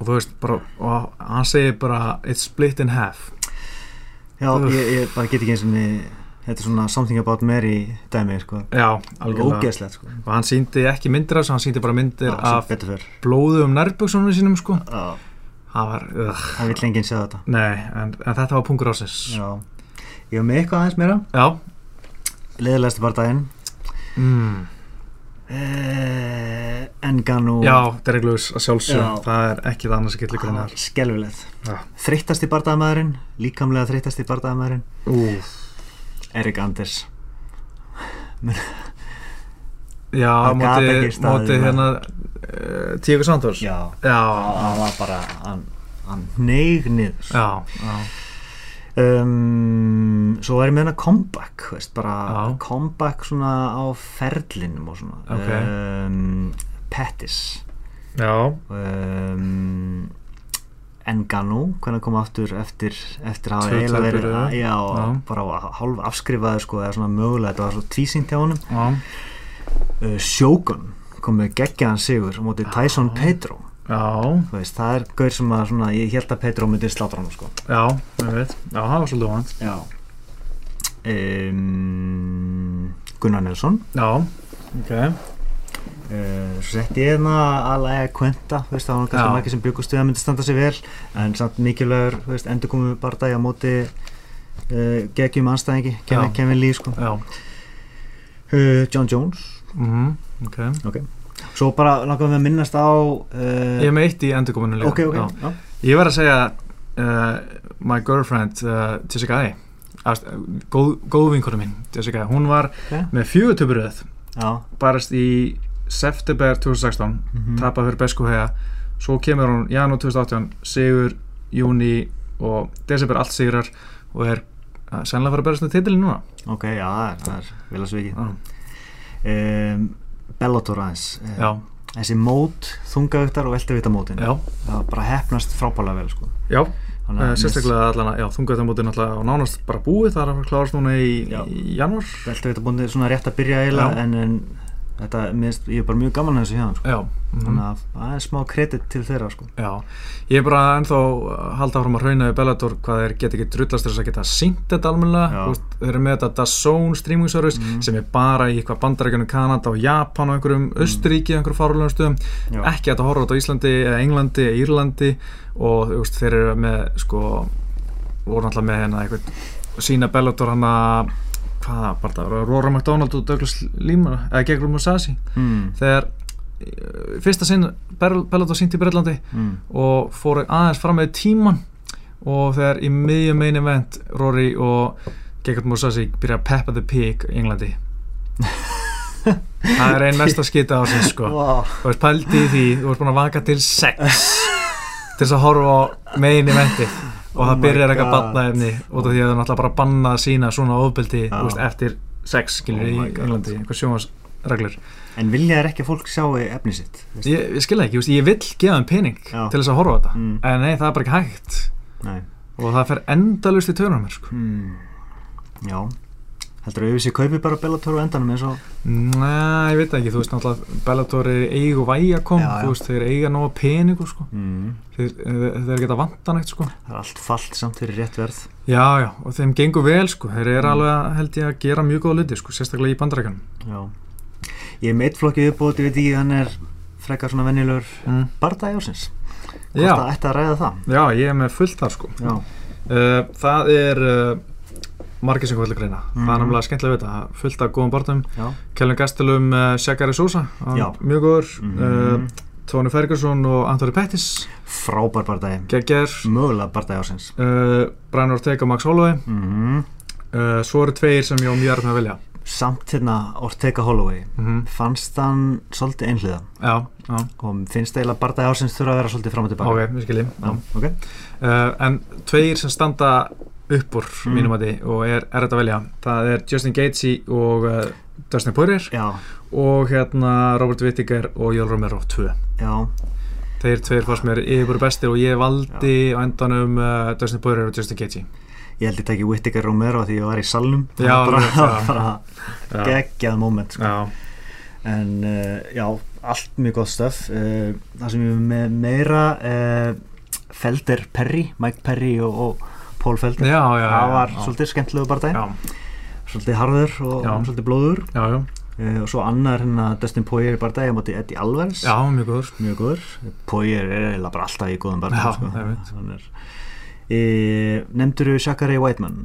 og þú veist bara, og hann segir bara it's split in half Já, Úff. ég, ég bara get ekki eins og niður Þetta er svona something about Mary dæmi, sko já, algjörlega Ógeðslegt, sko og hann síndi ekki myndir af þessu, hann síndi bara myndir Já, sem af betur fyrr blóðu um nærböksunum sínum sko Já, það var, ugh, Það vill enginn sjá þetta nei, en, en þetta var pungur ásins já, Já Ég var með eitthvað aðeins meira Leðilegast bara daginn mm. eh, Enganu já Derek Lewis að sjálfsög, Já. Ah. það er ekki það annars að geta líka hennar Skelvilegt Já. Þreyttasti bardaðamæðurinn Líkamlega þreyttasti bardaðamæðurinn Erik Anders já, Hann gat móti, ekki staðið móti við hérna uh, Tíku Santos Já já, Það var bara Hann, hann neig niður já, já. um, svo er ég með hana comeback veist, bara Já. comeback svona á ferlinum og svona Ok. um, Pettis já. um, Enganu hvernig kom aftur eftir, eftir að Tvö hafa eiginlega verið töpuðu. já, Já. bara á- hálf afskrifaði sko, eða svona mögulega, þetta var svo tvísyngt hjá honum já. uh, Shogun kom með geggjaðan sigur á móti Tyson Pedro já. Þú veist, það er gaur sem að svona, ég held að Pedro myndi slátra hann sko. Já, ég veit. Já, það var svolítið óvænt. Já um, Gunnar Nelson Já, ok. uh, Svo setti ég hérna alveg Quenta, þú veist, það var nú Já. kannski margir sem byggustu að myndi standa sig vel en samt mikilvægur, þú veist, endur komum við bara dæja á móti uh, geggjum anstæðingi, Já. Kevin, Kevin Lee sko. Já, uh, John Jones mhm, ok. Svo bara langaðum við að minnast á uh, Ég er með eitt í endurkominu líka. Ok, ok Já. já. Ég verð að segja uh, my girlfriend uh, Jessica A. Ást, eh, góð, góð vinkonu mín, Jessica A. Hún var Ok. með fjögutöpuröð, Já. barast í september 2016, Mhm. tapað fyrir Besku hega, svo kemur hún janúar 2018, sigur, júni og desember allt sigrar og er uh, sennilega að fara að berast með titilin núna. Ah, Ok, já, það er, það er vel að sviki Já, um, Bellator aðeins eh, já, Þessi mót, þungaugtar og veltavita mótin já. það var bara hefnast frábælega vel sko. já. Þannig að Uh, mér- sérstaklega allan að, já, þungaðamóti náttúrulega og nánast bara búið, það er að fara að klárast núna í, Já. í janúar. veltu þetta búin svona rétt að byrja eiginlega Já. en, en þetta, mist, ég er bara mjög gaman að þessu hérna sko. Já, þannig að það er smá kredit til þeirra sko. já. Ég er bara ennþá að halda áfram að hrauna við Bellator hvað þeir geta ekki drullast til þess að geta syngt þetta almennilega, Já. Þú veist, þeir eru með þetta DAZN streaming service Mhm. sem er bara í eitthvað bandarækjunum Kanada og Japan og einhverjum mm. Östuríki, einhverjum farulegum stöðum, Já. ekki hægt að horfa á þetta á Íslandi, eða Englandi, eða Írlandi og þú veist, þeir eru með sko, voru náttúrulega með hérna eitthvað sína Bellator hana hvaða, bara það, Rora McDonald og Douglas Lima, eða gegn Rumor Sassi mm. þegar eh, fyrsta sinn Bel- Bellator sýnt í Breitlandi mm. og fór aðeins fram með tíman og þegar í miðjum main event Rory og Gekard Mousasi byrja að peppa the pig í Englandi það er einn mesta skita á sig sko wow. þú veist pældi í því, þú veist búin að vaka til sex til þess að horfa á main eventið og Oh það my byrjar eitthvað God. bannaefni út af því að það er náttúrulega bara bannað að sína svona ofbeldi Já. þú veist, eftir sex skilur Oh í my God. Englandi, eitthvað sjónvarsreglur en vilja þær ekki að fólk sjá efni sitt veistu? ég, ég skilja ekki, þú veist, ég vill gefa þeim pening Já. til þess að horfa á þetta Mm. en nei, það er bara ekki hægt Nei. og það fer endalust í törnum mér sko. Mm. já heldur að UFC kaupi bara Bellator á endanum eins og Nei, ég veit það ekki, þú veist náttúrulega Bellator er eigu og væja kom Já, já. þú veist, þeir eiga nóga peningu sko. mm. þeir, eh, þeir geta vanta neitt sko. það er allt fallt samt fyrir rétt verð Já, já, og þeim gengur vel sko, þeir eru Mm. alveg held ég að gera mjög góða luti sko, sérstaklega í bandarækjanum já ég er meitt flokkið uppbót, ég veit ekki hann er frekar svona venjulegur mm. barndagi ásins hvort Já, það ætti að ræða það já, ég er með fullt þar sko já, Uh, það er uh, margir sem kvöldu greina Mhm. það er náttúrulega skemmtilega við þetta, fullt af góðum barnum já, Kjellum Gastelum, uh, Shakari Sosa hann Já. mjög góður, Mhm. uh, Tony Ferguson og Anthony Pettis frábær barndagi Gegger, mögulega barndagi ásins uh, Brian Ortega og Max Holloway mm. uh, svo eru tveir sem ég á mjög erf með að velja samt hérna Ortega Holloway mm fannst hann svolítið einhliða já, já, og finnst eiginlega barndagi ásins þurfa að vera svolítið fram og tilbaka ok, við skiljum Já, ok uh, en tveir sem standa upp úr Mm. mínum að því og er, er þetta að velja það er Justin Gaethje og uh, Dustin Poirier Já, og hérna Robert Whittaker og Jól Romero 2 já, Þeir tveir fannst mér yfir bestir og ég valdi á endanum uh, Dustin Poirier og Justin Gaethje ég held ég taki Whittaker Romero því ég var í salnum Já, Það var bara, alveg, já. bara geggjað moment sko. Já, en uh, já, allt mjög gott stöf uh, það sem ég er með meira uh, Felder Perry Mike Perry og, og Paul já, Felder já, já það var já, svolítið skemmtilegu bara dæn Já, svolítið harður og Já. svolítið blóður já, já, uh, og svo annar hérna Dustin Poirier bara dæn móti Eddie Alvarez já, mjög góður mjög góður Poyer er eiginlega bara alltaf í góðum barnum Já, sko. einmitt. Hann er, e, nefndur þú Shakari Whiteman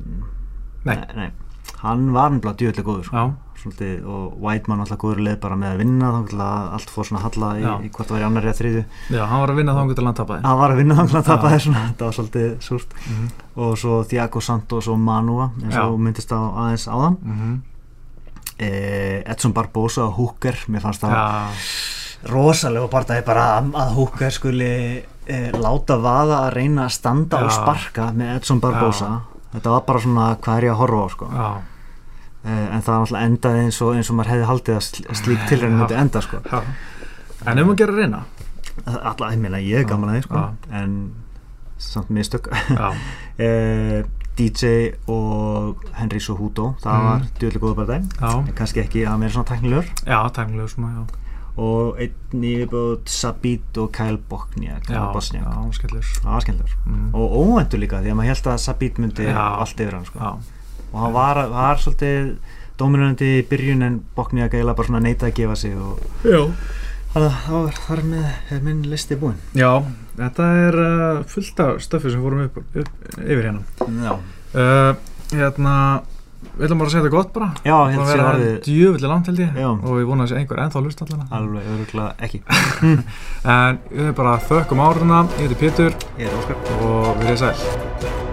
Nei. nei. hann var nefnilega djöðlega góður sko. Já, Svolítið, og Whiteman alltaf góður leið bara með að vinna þá ætla allt fór svona að halla í, Já. í hvort það var í annari að þriðu já, hann var að vinna þá einhvern veginn tapaði hann var að vinna þannig að Já. tapa þér svona þetta var svolítið súrt Mhm. og svo Thiago Santos og Manua eins Já. og myndist á aðeins áðan Mhm. e, Edson Barbosa og Hooker mér fannst það Já, rosalega barndagi bara að- að Hooker skuli e, láta vaða að reyna að standa Já. og sparka með Edson Barbosa þetta var bara svona hvað er ég að horfa á sko. já, e, en það náttúrulega endaði eins og, eins og maður hefði haldið að sl- slík tilrænum Já. myndi enda sko. já En um að gera reyna alltaf, ég meina ég er gaman að því sko. en samt mistök Já, e, DJ og Henry Sohudo það Mhm. var djúðlega góða barndagi já, kannski ekki að vera svona teknilegur já, tæmlega svona, já og einn nýjubót Sabit og Kyle Bosniak Já, Bosniak. já, skellur það var skemmtilegur mm. og óvæntu líka því að maður held að Sabit myndi Já. allt yfir hann sko. Já, og hann var, var svolítið dominandi í byrjun en Bokni að gæla bara svona neita að gefa sig og já það var þar með er minn listi búinn Já, þetta er uh, fullt af stöffi sem fórum upp, upp yfir hérna já, uh, hérna við ætlum bara að segja þetta gott bara já Búin held að sér vera orðið djöfulli langt held ég Já. og ég vona að sé einhver ennþá hlust allavega alveg öruglega ekki en við bara þökkum áruna, ég heiti Pétur ég er óskar og við erum sæl